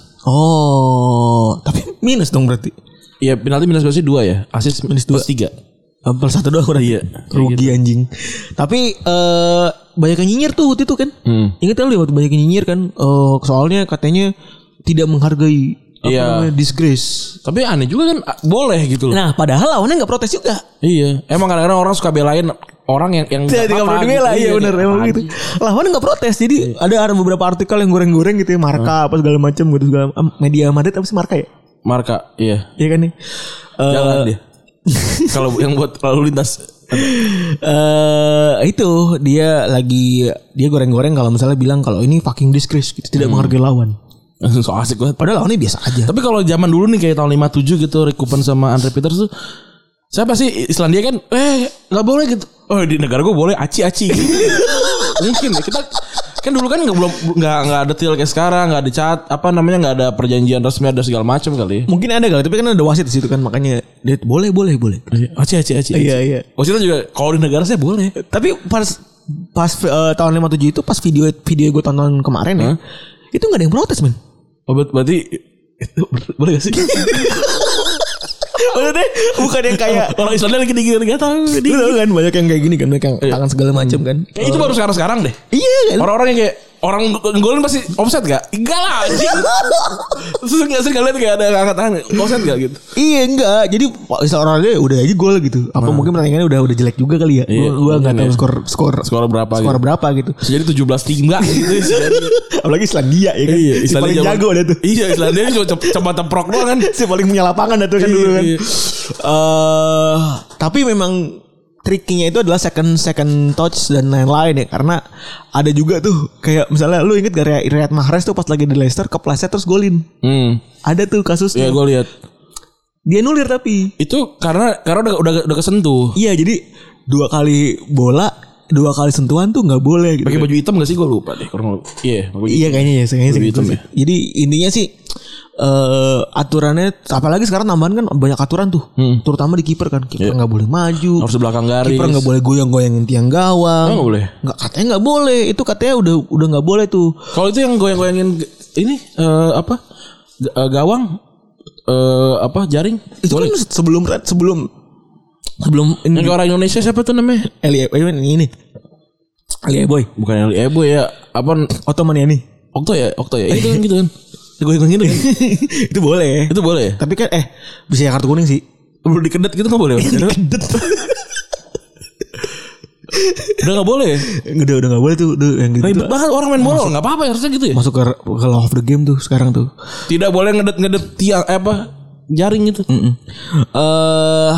Speaker 4: Oh Tapi minus dong berarti
Speaker 3: Iya penalti minus berapa sih dua ya? Asis minus dua. tiga.
Speaker 4: Hampir satu doang udah iya, Rugi anjing Tapi eh Banyak yang nyinyir tuh waktu itu kan Ingat kan lu ya waktu banyak yang nyinyir kan Eh, Soalnya katanya Tidak menghargai apa
Speaker 3: Iya.
Speaker 4: namanya, Disgrace
Speaker 3: Tapi aneh juga kan a- boleh gitu loh.
Speaker 4: Nah padahal lawannya gak protes juga
Speaker 3: Iya. Emang kadang-kadang orang suka belain orang yang yang
Speaker 4: Tidak
Speaker 3: nggak
Speaker 4: nggak
Speaker 3: apa-apa
Speaker 4: perlu dibela
Speaker 3: gitu.
Speaker 4: Iya bener
Speaker 3: jadi
Speaker 4: emang
Speaker 3: aneh.
Speaker 4: gitu Iya. Lawannya gak protes Jadi ada ada beberapa artikel yang goreng-goreng gitu ya Marka apa segala macam gitu segala em, Media Madrid apa sih Marka ya
Speaker 3: Marka, iya.
Speaker 4: Iya kan nih
Speaker 3: Jalan dia. Kalau yang buat lalu lintas
Speaker 4: eh itu dia lagi dia goreng-goreng kalau misalnya bilang kalau ini fucking disgrace gitu tidak menghargai lawan
Speaker 3: so asik banget.
Speaker 4: padahal lawannya biasa aja
Speaker 3: Tapi kalau zaman dulu nih kayak tahun 57 gitu Rick Cooper sama Andre Peters tuh siapa sih Islandia kan eh nggak boleh gitu. Oh di negara gue boleh aci-aci. gitu. Mungkin ya kita kan dulu kan nggak belum nggak nggak ada detil kayak sekarang nggak ada cat apa namanya nggak ada perjanjian resmi ada segala macam kali.
Speaker 4: mungkin ada kali tapi kan ada wasit di situ kan makanya dia boleh boleh boleh
Speaker 3: Aci aci aci.
Speaker 4: iya iya
Speaker 3: Maksudnya juga kalau di negara saya boleh.
Speaker 4: tapi pas pas eh, tahun 57 itu pas video video gue tonton kemarin ya itu nggak ada yang protes men
Speaker 3: Oh, ber- berarti itu ber- boleh gak sih?
Speaker 4: Maksudnya bukan yang kayak
Speaker 3: Orang Islandia lagi digigit nggak tahu.
Speaker 4: Lu tau kan banyak yang kayak gini kan Banyak yang
Speaker 3: Iya.
Speaker 4: tangan segala macam kan
Speaker 3: Kayak itu baru sekarang sekarang deh.
Speaker 4: Iya kan
Speaker 3: Orang-orang yang kayak orang golin pasti offset gak? Enggak lah anjing. Terus enggak sih kalian kayak ada yang angkat tangan offset gak gitu?
Speaker 4: Iya enggak Jadi orangnya udah aja gol gitu Apa mungkin pertandingannya udah udah jelek juga kali ya
Speaker 3: Nah. Iya,
Speaker 4: Gua Gue gak
Speaker 3: mungkin
Speaker 4: tau
Speaker 3: ya.
Speaker 4: skor Skor
Speaker 3: Skor berapa
Speaker 4: skor
Speaker 3: gitu.
Speaker 4: berapa gitu
Speaker 3: Jadi 17 tiga gitu.
Speaker 4: Apalagi Islandia ya kan
Speaker 3: Iya,
Speaker 4: Si
Speaker 3: Islandia
Speaker 4: paling
Speaker 3: zaman-
Speaker 4: jago ada tuh
Speaker 3: iya, Islandia ini cuma cep- cuma temprok doang kan.
Speaker 4: Si paling punya lapangan ada tuh kan
Speaker 3: Iya,
Speaker 4: dulu kan
Speaker 3: iya.
Speaker 4: Eh, Tapi memang Triknya itu adalah second second touch dan lain-lain ya karena ada juga tuh kayak misalnya lu inget gak Riyad- Riyad Mahrez tuh pas lagi di Leicester kepleset terus golin
Speaker 3: Hmm.
Speaker 4: ada tuh
Speaker 3: Ya
Speaker 4: kasusnya
Speaker 3: gue lihat.
Speaker 4: dia nulir tapi
Speaker 3: Itu karena karena udah udah, udah kesentuh.
Speaker 4: iya jadi dua kali bola dua kali sentuhan tuh nggak boleh gitu
Speaker 3: Pakai baju hitam gak sih gue lupa deh. Kurang Iya, pakai baju
Speaker 4: iya kayaknya ya kayaknya
Speaker 3: Lebih
Speaker 4: sih
Speaker 3: hitam
Speaker 4: gitu sih. jadi intinya sih eh aturannya apalagi sekarang tambahan kan banyak aturan tuh terutama di kiper kan kiper nggak boleh maju
Speaker 3: Hmm. Iya. harus di belakang garis.
Speaker 4: kiper nggak boleh goyang-goyangin tiang
Speaker 3: Oh,
Speaker 4: gawang
Speaker 3: nggak boleh.
Speaker 4: nggak katanya nggak boleh itu katanya udah udah nggak boleh tuh
Speaker 3: Kalau itu yang goyang-goyangin g- ini eh, apa? G- eh, gawang eh apa jaring?
Speaker 4: itu kan sebelum sebelum sebelum
Speaker 3: Yang
Speaker 4: ini
Speaker 3: ke orang Indonesia siapa tuh namanya?
Speaker 4: Eli eh, ini Eli Boy
Speaker 3: Bukan Eli Ebo ya. Apa
Speaker 4: Ottoman ya nih
Speaker 3: Okto ya? Okto ya. Itu kan gitu kan. Goyang-goyang gitu kan.
Speaker 4: itu boleh
Speaker 3: itu boleh ya?
Speaker 4: Tapi kan eh bisa ya kartu kuning sih.
Speaker 3: Iya. Belum dikedet gitu enggak boleh.
Speaker 4: Kedet.
Speaker 3: Udah gak boleh.
Speaker 4: udah udah nggak boleh tuh udah yang gitu
Speaker 3: Ribet
Speaker 4: tuh.
Speaker 3: banget orang main bola. Gak apa-apa ya harusnya gitu ya.
Speaker 4: masuk ke ke law of the game tuh sekarang tuh
Speaker 3: Tidak boleh ngedet-ngedet tiang eh, apa jaring gitu.
Speaker 4: eh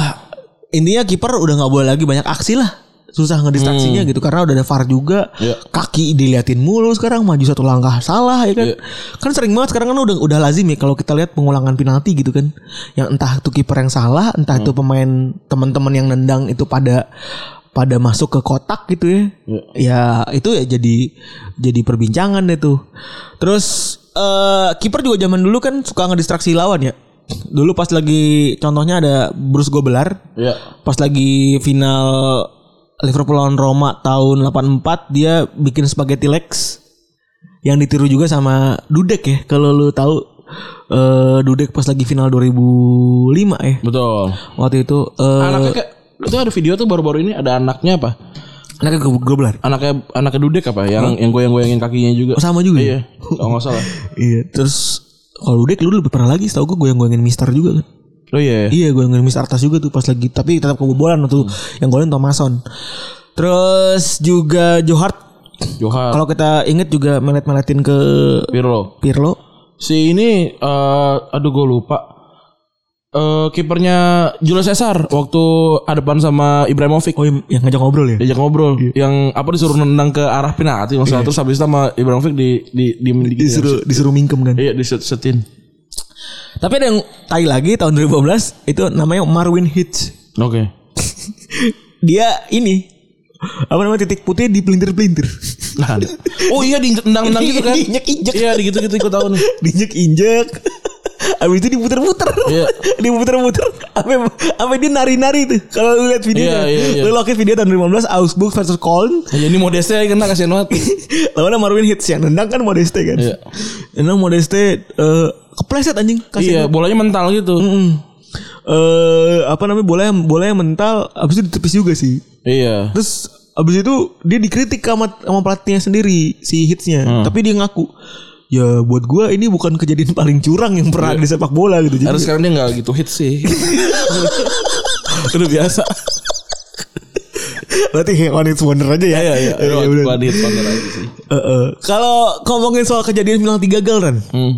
Speaker 4: intinya kiper udah nggak boleh lagi banyak aksi lah susah ngedistraksinya gitu karena udah ada VAR juga
Speaker 3: Iya.
Speaker 4: kaki diliatin mulu sekarang maju satu langkah salah ya kan kan sering banget sekarang kan udah udah lazim ya kalau kita lihat pengulangan penalti gitu kan yang entah itu kiper yang salah entah itu pemain teman-teman yang nendang itu pada pada masuk ke kotak gitu ya ya itu ya jadi jadi perbincangan deh tuh terus eh kiper juga zaman dulu kan suka ngedistraksi lawan ya Dulu pas lagi contohnya ada Bruce Gobelar.
Speaker 3: Iya.
Speaker 4: Pas lagi final Liverpool lawan Roma tahun 84 dia bikin spaghetti legs yang ditiru juga sama Dudek ya kalau lu tahu eh, Dudek pas lagi final 2005 ya.
Speaker 3: Betul.
Speaker 4: Waktu itu eh
Speaker 3: Anaknya kayak itu ada video tuh baru-baru ini ada anaknya apa?
Speaker 4: anaknya Go- Gobelar.
Speaker 3: Anaknya anaknya Dudek apa yang yang goyang-goyangin kakinya juga.
Speaker 4: Oh, sama juga ya?
Speaker 3: Iya. Kalau enggak salah.
Speaker 4: Iya, terus kalau Dudek lu lebih pernah lagi setahu gue goyang-goyangin Mister juga kan.
Speaker 3: Oh iya.
Speaker 4: Iya gue ngeliat Miss Artas juga tuh pas lagi Tapi tetap kebobolan tuh Yang golin Thomason Terus juga Johart
Speaker 3: Johan
Speaker 4: Kalau kita inget juga melet-meletin ke
Speaker 3: Pirlo.
Speaker 4: Pirlo
Speaker 3: Si ini eh aduh gue lupa. Eh kipernya Julio Cesar waktu hadapan sama Ibrahimovic.
Speaker 4: Oh yang, yang ngajak ngobrol ya
Speaker 3: diajak ngobrol yang apa disuruh nendang ke arah penalti maksudnya terus habis itu sama Ibrahimovic di di di, di,
Speaker 4: Disuruh, disuruh mingkem kan
Speaker 3: iya di set- setin
Speaker 4: Tapi ada yang tai lagi tahun 2012 Itu namanya Marwin Hitch
Speaker 3: oke
Speaker 4: Dia ini Apa namanya titik putih di pelintir-pelintir
Speaker 3: Nah, ada. oh iya di nendang nendang gitu kan
Speaker 4: Diinjek-injek.
Speaker 3: iya di gitu gitu ikut tahu nih
Speaker 4: Diinjek-injek Abis itu diputer-puter
Speaker 3: Iya.
Speaker 4: Diputer-puter Apa apa dia nari-nari tuh Kalau lu lihat
Speaker 3: Iya,
Speaker 4: videonya
Speaker 3: iya, iya.
Speaker 4: Lu lokin video tahun 2015 Augsburg versus Köln
Speaker 3: ya ini modesnya kena kasihan banget
Speaker 4: Lawannya Marwin Hits yang nendang kan Modeste kan.
Speaker 3: Iya.
Speaker 4: Nendang Modeste eh, kepleset anjing Kan,
Speaker 3: iya
Speaker 4: kasihan.
Speaker 3: bolanya mental gitu
Speaker 4: Mm. Eh, apa namanya bola yang bola yang mental abis itu ditepis juga sih.
Speaker 3: iya
Speaker 4: Terus abis itu dia dikritik sama sama pelatihnya sendiri si hitsnya,
Speaker 3: Hmm.
Speaker 4: tapi dia ngaku ya buat gua ini bukan kejadian paling curang yang
Speaker 3: Iya.
Speaker 4: pernah ada di sepak bola gitu. Jadi
Speaker 3: harus sekarang dia nggak gitu hit sih udah biasa
Speaker 4: berarti hang on its wonder aja ya.
Speaker 3: iya iya
Speaker 4: Eh,
Speaker 3: udah
Speaker 4: bener.
Speaker 3: bukan hit banget lagi sih
Speaker 4: Eh, eh. Kalau ngomongin soal kejadian bilang tiga gagal Ran.
Speaker 3: hmm.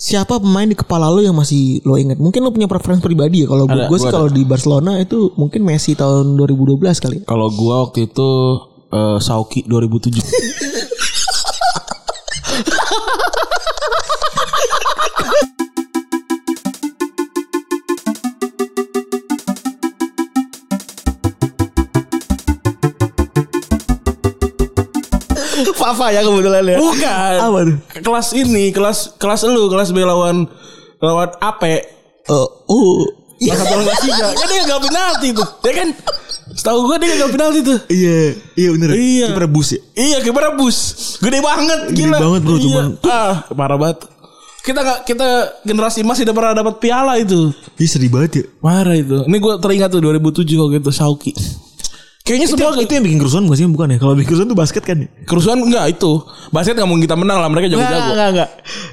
Speaker 4: siapa pemain di kepala lo yang masih lo ingat? Mungkin lo punya preferensi pribadi ya. Kalau
Speaker 3: Ada,
Speaker 4: gue
Speaker 3: gua
Speaker 4: sih
Speaker 3: ada.
Speaker 4: kalau di Barcelona itu mungkin Messi tahun 2012 kali.
Speaker 3: kalau gua waktu itu eh, Sauki 2007
Speaker 4: Fafa ya kebetulan ya.
Speaker 3: Bukan.
Speaker 4: Apa tuh?
Speaker 3: Kelas ini, kelas kelas lu, kelas B lawan lawan AP.
Speaker 4: Eh, oh.
Speaker 3: Kelas satu lawan kelas tiga. Kan dia gagal penalti tuh. Ya kan? Setahu gua dia gagal penalti tuh.
Speaker 4: Iya, iya bener.
Speaker 3: Iya.
Speaker 4: Kiper bus ya.
Speaker 3: Iya, gimana bus? Gede banget,
Speaker 4: Gede
Speaker 3: gila.
Speaker 4: banget, bro,
Speaker 3: Iya.
Speaker 4: cuman-
Speaker 3: ah, parah banget. Kita nggak kita generasi emas tidak pernah dapat piala itu.
Speaker 4: Ih sedih banget ya.
Speaker 3: Marah itu. Ini gua teringat tuh 2007 kalau gitu Sauki. Kayaknya
Speaker 4: Itu,
Speaker 3: semua
Speaker 4: itu yang bikin kerusuhan bukan sih? Bukan ya? Kalau bikin kerusuhan tuh basket kan ya?
Speaker 3: kerusuhan enggak itu. Basket nggak mungkin kita menang lah, mereka jago-jago.
Speaker 4: enggak.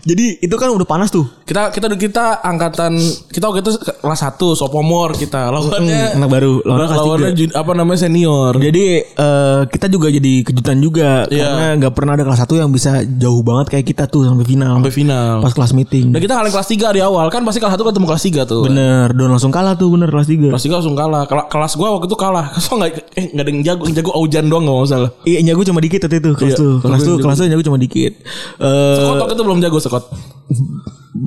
Speaker 4: Jadi itu kan udah panas tuh.
Speaker 3: kita kita kita angkatan kita waktu itu kelas 1 sophomore kita lawannya
Speaker 4: Hmm, anak baru. Lawannya
Speaker 3: lawannya,
Speaker 4: kelas tiga.
Speaker 3: jun- apa namanya senior
Speaker 4: Jadi eh, kita juga jadi kejutan juga
Speaker 3: Iya.
Speaker 4: karena nggak pernah ada kelas satu yang bisa jauh banget kayak kita tuh sampai final.
Speaker 3: sampai final
Speaker 4: Pas kelas meeting.
Speaker 3: dan kita kalian kelas 3 di awal kan pasti kelas 1 ketemu kelas 3 tuh
Speaker 4: Bener, Don langsung kalah tuh bener kelas 3.
Speaker 3: kelas 3 langsung kalah Kela- kelas gua waktu itu kalah kelas enggak eh enggak ada yang jago yang jago Aujan doang enggak masalah
Speaker 4: Iya, nyagu cuma dikit waktu itu kelas
Speaker 3: Iya,
Speaker 4: tuh. Kelas
Speaker 3: nyagu-
Speaker 4: tuh, kelas tuh nyagu cuma dikit. Eh,
Speaker 3: Scott waktu itu belum jago Scott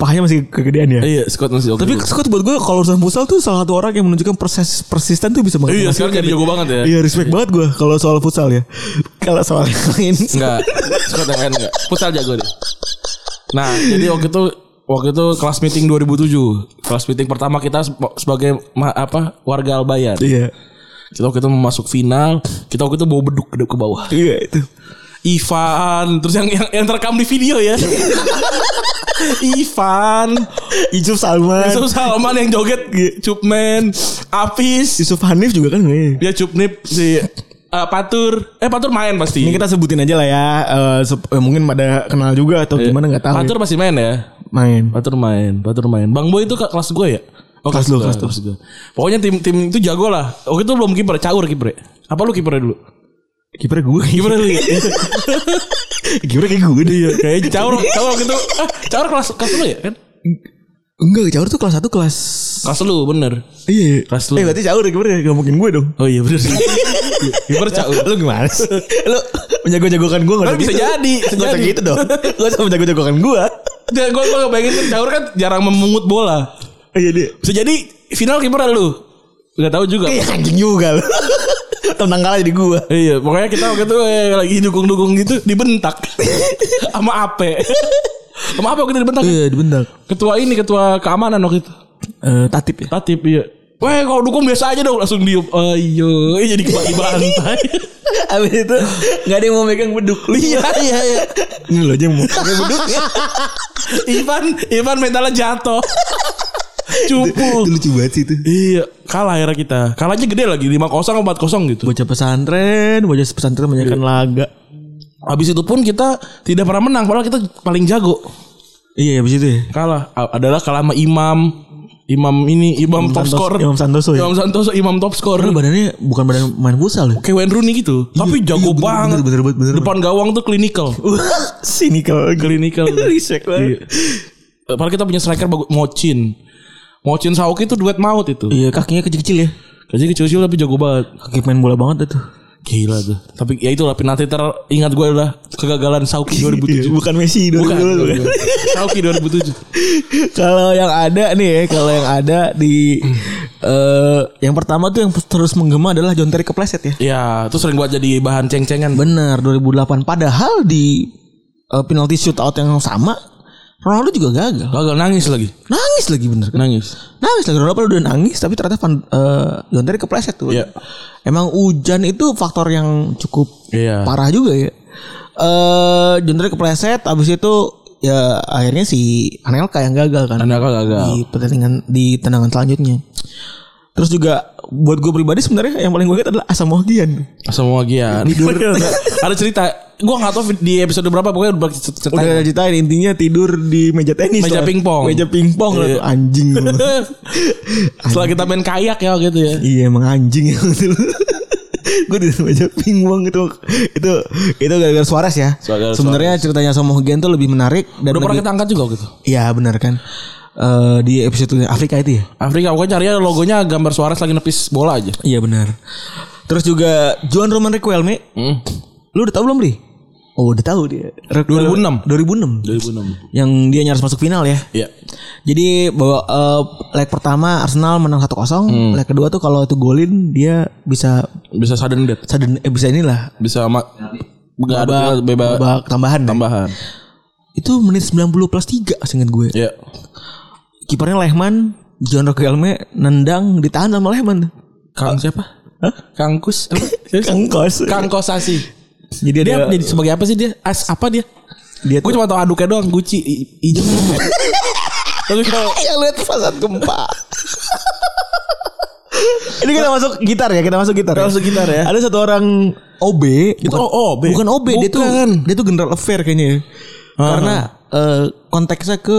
Speaker 4: pahanya masih kegedean ya.
Speaker 3: iya Scott masih oke
Speaker 4: Tapi Scott buat gue kalau urusan futsal tuh salah satu orang yang menunjukkan persis persisten tuh bisa
Speaker 3: iya
Speaker 4: menghasilkan.
Speaker 3: sekarang jadi jago banget ya
Speaker 4: Iya, respect banget gue kalau soal futsal ya. Kalau soal yang lain
Speaker 3: Enggak Scott yang lain enggak Futsal jago deh Nah jadi waktu itu Waktu itu kelas meeting 2007 Kelas meeting pertama kita sep- sebagai ma- apa warga Albayan
Speaker 4: Iya.
Speaker 3: Kita waktu itu mau masuk final Kita waktu itu bawa beduk ke, ke bawah
Speaker 4: Iya itu.
Speaker 3: Ivan Terus yang, yang, yang terekam di video ya Iya. Ivan
Speaker 4: Yusuf
Speaker 2: Kan.
Speaker 4: Salman,
Speaker 3: Yusuf Salman yang joget Cupman Apis
Speaker 4: Yusuf Hanif juga kan. kayaknya.
Speaker 3: Dia cupnip si eh, Patur Eh Patur main pasti
Speaker 4: Ini kita sebutin aja lah ya. Eh, sup- eh, mungkin pada kenal juga atau gimana nggak tahu. ya.
Speaker 3: Patur pasti main ya
Speaker 4: Main.
Speaker 3: Batur main, Batur main. Bang Boy itu ke kelas gue ya? Oh,
Speaker 4: Kelas lu,
Speaker 3: gue,
Speaker 4: kelas lu.
Speaker 3: gue. Pokoknya tim tim itu jago lah. Oke itu belum kiper, caur kiper. ya? Apa lu kipernya dulu?
Speaker 2: Kiper gue.
Speaker 3: Kipernya lu ya?
Speaker 2: Kiper kayak gue deh.
Speaker 3: Iya, kayaknya caur, caur gitu. Ah, caur kelas kelas lu ya kan?
Speaker 4: Enggak, Caur tuh kelas 1 kelas
Speaker 3: Kelas lu bener.
Speaker 4: Iya. iya.
Speaker 3: Kelas lu.
Speaker 2: Eh berarti caur kiper gak mungkin gue dong.
Speaker 3: Oh iya bener sih. Kiper caur.
Speaker 2: Lu gimana sih? Lu menjago-jagokan gue
Speaker 3: Kan bisa jadi, bisa
Speaker 2: Gak usah
Speaker 3: jadi.
Speaker 2: gitu dong. Gak usah menjago-jagokan gue.
Speaker 3: Gue gue ngebayangin kan caur kan jarang memungut bola.
Speaker 4: Oh
Speaker 2: Iya dia.
Speaker 3: Bisa jadi final kiper ada lu. Gak tahu juga.
Speaker 2: Kayak Eh, anjing juga lu. Tenang kalah jadi gue.
Speaker 3: Iya, pokoknya kita waktu itu eh, lagi dukung-dukung gitu dibentak sama Ape. sama Ape kita dibentak.
Speaker 4: Iya, dibentak.
Speaker 3: Ketua ini ketua keamanan waktu itu.
Speaker 4: Eh, tatip ya.
Speaker 3: Tatip iya. Weh kalau dukung biasa aja dong langsung diem. Ayo, eh, jadi kebagi bantai.
Speaker 4: Abis itu nggak ada yang mau megang beduk. Iya iya iya.
Speaker 2: Ini lo aja yang mau.
Speaker 3: Ivan, Ivan mentalnya jatuh.
Speaker 2: Itu
Speaker 3: Cupu.
Speaker 2: lucu banget sih itu.
Speaker 3: Iya, kalah akhirnya kita. Kalahnya gede lagi 5-0 atau 4-0 gitu.
Speaker 4: Bocah pesantren, bocah pesantren
Speaker 2: Iya.
Speaker 4: menyakan laga.
Speaker 3: Habis itu pun kita tidak pernah menang padahal kita paling jago.
Speaker 4: Iya abis itu ya.
Speaker 3: Kalah A- adalah kalah sama Imam. Imam ini Imam, top
Speaker 4: Santos-
Speaker 3: score.
Speaker 4: Imam Santoso ya.
Speaker 3: Imam Santoso Imam top score.
Speaker 4: Padahal badannya bukan badan main futsal ya.
Speaker 3: Kayak Wayne Rooney gitu. Tapi jago banget.
Speaker 4: Iya, bener, bener, Uh. bener,
Speaker 3: Depan gawang tuh clinical.
Speaker 4: Sini kalau
Speaker 3: clinical.
Speaker 4: Risek banget.
Speaker 3: Eh, Padahal kita punya striker bagus Mocin. Mocin Saoki itu duet maut itu.
Speaker 4: Iya kakinya kecil-kecil ya.
Speaker 3: Kayaknya kecil-kecil tapi jago banget.
Speaker 4: Kaki main bola banget itu.
Speaker 2: Iya,
Speaker 3: Gila tuh. Tapi ya itulah penalti teringat gue adalah kegagalan Saoki
Speaker 4: Iya,
Speaker 3: 2007.
Speaker 2: Bukan Messi dong.
Speaker 3: Bukan. Saoki 2007.
Speaker 4: Kalau yang ada nih ya, kalau yang ada di eh yang pertama tuh yang terus menggema adalah John Terry kepleset ya.
Speaker 3: Ya, itu sering buat jadi bahan ceng-cengan.
Speaker 4: Bener 2008 padahal di eh, penalti shootout yang sama Ronaldo juga gagal.
Speaker 3: Gagal nangis lagi.
Speaker 4: Nangis lagi bener kan?
Speaker 3: Nangis.
Speaker 4: Nangis lagi Ronaldo padahal udah nangis tapi ternyata Van eh, John Terry kepleset tuh.
Speaker 3: Iya.
Speaker 4: Emang hujan itu faktor yang cukup
Speaker 3: Iya.
Speaker 4: parah juga ya. Eh John Terry kepleset abis itu ya akhirnya si Anelka yang gagal kan
Speaker 3: Anda gagal.
Speaker 4: di pertandingan di tendangan selanjutnya. Terus juga buat gue pribadi sebenarnya yang paling gue ingat adalah Asam Mohagian.
Speaker 3: Semua gian. Ada cerita. Gue gak tau di episode berapa. Pokoknya udah cerita.
Speaker 4: Udah ada ceritain intinya tidur di meja tenis.
Speaker 3: Meja
Speaker 4: lah.
Speaker 3: pingpong.
Speaker 4: Meja pingpong lah
Speaker 3: Iya.
Speaker 4: tuh, anjing. lu.
Speaker 3: Setelah kita main kayak ya gitu ya.
Speaker 4: iya emang anjing ya betul. gue di meja pingpong itu itu itu gara-gara Suarez ya.
Speaker 3: Gara-gara
Speaker 4: Sebenarnya ceritanya Asam Mohagian tuh lebih menarik dan
Speaker 3: Udah pernah
Speaker 4: lebih,
Speaker 3: kita angkat juga gitu.
Speaker 4: Iya benar kan. Eh, di episode Afrika itu ya.
Speaker 3: Afrika pokoknya cari aja logonya gambar Suarez lagi nepis bola aja.
Speaker 4: Iya benar. Terus juga Juan Roman Requelme
Speaker 3: Hmm.
Speaker 4: Lu udah tahu belum, Ri? Oh, udah tahu dia.
Speaker 3: 2006.
Speaker 4: 2006.
Speaker 3: 2006.
Speaker 4: Yang dia nyaris masuk final ya.
Speaker 3: Iya.
Speaker 4: Jadi bawa eh, leg pertama Arsenal menang 1-0, leg kedua tuh kalau itu golin dia bisa
Speaker 3: Bisa sudden death.
Speaker 4: sudden eh, bisa inilah
Speaker 3: Bisa sama Gak ada
Speaker 4: babak,
Speaker 3: bebas
Speaker 4: babak tambahan. ya?
Speaker 3: tambahan.
Speaker 4: Itu menit 90 plus 3 seingat gue.
Speaker 3: Iya.
Speaker 4: Kipernya Lehman, John Rogelme nendang ditahan sama Lehman.
Speaker 3: Kang siapa? Hah? Kangkus.
Speaker 4: Kangkos.
Speaker 3: Kangkosasi.
Speaker 4: Jadi
Speaker 3: Dia
Speaker 4: ada
Speaker 3: jadi sebagai apa sih dia? As apa dia?
Speaker 4: dia
Speaker 3: Gue
Speaker 4: tuh
Speaker 3: cuma tau aduknya doang Gucci i- hijau. Tapi kalau
Speaker 4: yang lihat saat gempa. Ini kita masuk gitar ya, kita masuk gitar. ya.
Speaker 3: Kita masuk gitar ya.
Speaker 4: Ada satu orang OB,
Speaker 3: Itu O- OB.
Speaker 4: bukan OB, dia tuh
Speaker 3: Oh, Bukan.
Speaker 4: dia tuh general affair kayaknya. ya. Karena eh, konteksnya ke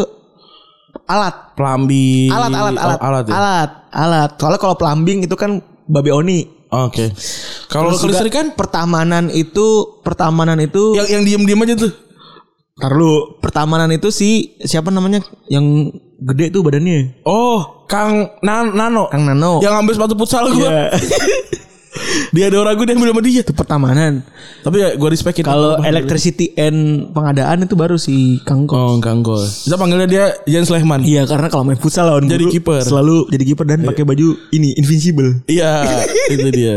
Speaker 4: alat,
Speaker 3: Pelambi
Speaker 4: alat, alat, alat,
Speaker 3: Oh, alat, ya?
Speaker 4: alat, alat. Soalnya kalau plumbing itu kan babe oni.
Speaker 3: Oke. Kalau
Speaker 4: Terus juga
Speaker 3: kelistrikan
Speaker 4: pertamanan itu pertamanan itu
Speaker 3: yang yang diem-diem aja tuh.
Speaker 4: Ntar lu, pertamanan itu si siapa namanya yang gede tuh badannya
Speaker 3: Oh, Kang Nan- Nano.
Speaker 4: Kang Nano
Speaker 3: Yang ambil sepatu futsal gua.
Speaker 4: Iya.
Speaker 3: Dia ada orang gue dia ambil sama dia.
Speaker 4: itu pertamanan
Speaker 3: Tapi ya gue respectin.
Speaker 4: Kalau electricity and pengadaan itu baru si Kang Kok.
Speaker 3: Oh, Kang Gol. Kita panggilnya dia Jens Lehman.
Speaker 4: Iya karena kalau main futsal lawan
Speaker 3: Jadi
Speaker 4: bulu,
Speaker 3: kiper.
Speaker 4: Selalu Iya. jadi kiper dan pakai baju ini invincible.
Speaker 3: Iya, itu dia.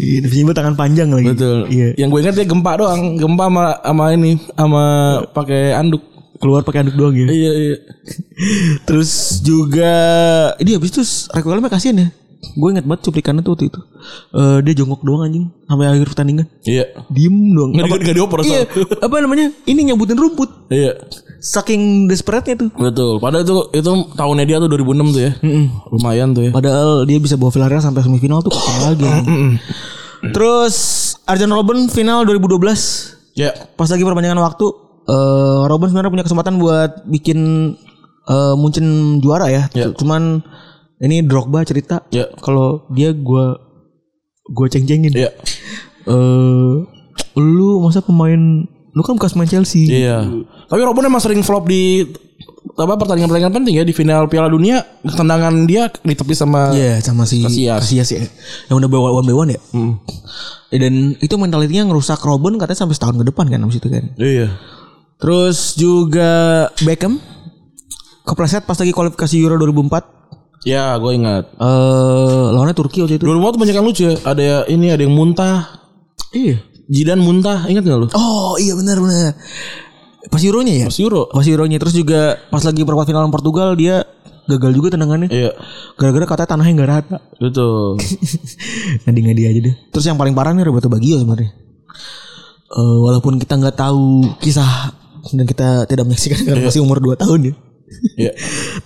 Speaker 4: Iya, invincible tangan panjang lagi.
Speaker 3: Betul.
Speaker 4: Iya.
Speaker 3: Yang gue ingat dia gempa doang, gempa sama sama ini, sama pakai anduk.
Speaker 4: Keluar pakai anduk doang ya.
Speaker 3: Iya, iya.
Speaker 4: Terus juga ini habis itu Requelme kasihan ya. Gue inget banget cuplikannya tuh waktu itu. Eh, dia jongkok doang anjing sampai akhir pertandingan.
Speaker 3: Iya.
Speaker 4: Diem doang.
Speaker 3: Nggak di-
Speaker 4: Apa-
Speaker 3: nggak dioper,
Speaker 4: Iya.
Speaker 3: soal.
Speaker 4: Apa namanya? Ini nyabutin rumput.
Speaker 3: Iya.
Speaker 4: Saking desperate-nya tuh.
Speaker 3: Betul. Padahal itu itu tahunnya dia tuh 2006 tuh ya. Lumayan tuh ya.
Speaker 4: Padahal dia bisa bawa Villarreal sampai semifinal tuh kapan lagi. Terus Arjen Robben final 2012
Speaker 3: Iya.
Speaker 4: pas lagi perpanjangan waktu eh Robben sebenarnya punya kesempatan buat bikin eh Munchen juara ya.
Speaker 3: Ya.
Speaker 4: Cuman ini Drogba cerita
Speaker 3: Ya.
Speaker 4: kalau dia gua gue ceng-cengin.
Speaker 3: Iya.
Speaker 4: Eh, lu masa pemain lu kan bekas main Chelsea.
Speaker 3: Iya. Tapi Robben emang sering flop di apa pertandingan-pertandingan penting ya di final Piala Dunia tendangan dia ditepis sama
Speaker 4: Iya sama si
Speaker 3: Casillas.
Speaker 4: Casillas ya. Yang udah bawa one by one ya. Dan itu mentalitinya ngerusak Robben katanya sampai setahun ke depan kan abis itu kan.
Speaker 3: Iya.
Speaker 4: Terus juga Beckham kepleset pas lagi kualifikasi Euro 2004.
Speaker 3: Ya, gue ingat.
Speaker 4: Eh lawannya Turki waktu itu.
Speaker 3: Dua rumah tuh banyak yang lucu ya. Ada ya ini ada yang muntah.
Speaker 4: Iya.
Speaker 3: Jidan muntah, ingat gak lu?
Speaker 4: Oh iya benar benar. Pas Euronya ya?
Speaker 3: Pas Euro.
Speaker 4: Pas Euronya terus juga pas lagi perempat final lawan Portugal dia gagal juga tendangannya.
Speaker 3: Iya,
Speaker 4: Gara-gara katanya tanahnya nggak rata.
Speaker 3: betul.
Speaker 4: Ngadi-ngadi aja deh. Terus yang paling parah nih Roberto Baggio sebenarnya. Eh, walaupun kita nggak tahu kisah dan kita tidak menyaksikan karena masih umur 2 tahun ya.
Speaker 3: Iya.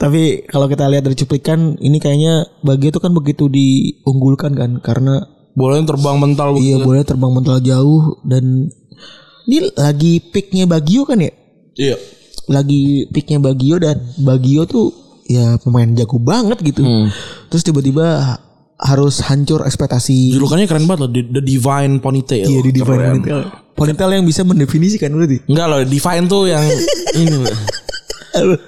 Speaker 4: Tapi kalau kita lihat dari cuplikan ini kayaknya Baggio itu kan begitu diunggulkan kan karena
Speaker 3: Bolanya terbang mental begitu.
Speaker 4: iya boleh terbang mental jauh dan ini lagi peaknya Baggio kan ya?
Speaker 3: Iya.
Speaker 4: Lagi peaknya Baggio dan Baggio tuh ya pemain jago banget gitu. Terus tiba-tiba harus hancur ekspektasi
Speaker 3: Julukannya keren banget loh, The, The Divine Ponytail.
Speaker 4: Iya di Divine
Speaker 3: Keren.
Speaker 4: Ponytail. Ponytail yang bisa mendefinisikan berarti.
Speaker 3: Enggak loh, Divine tuh yang ini loh.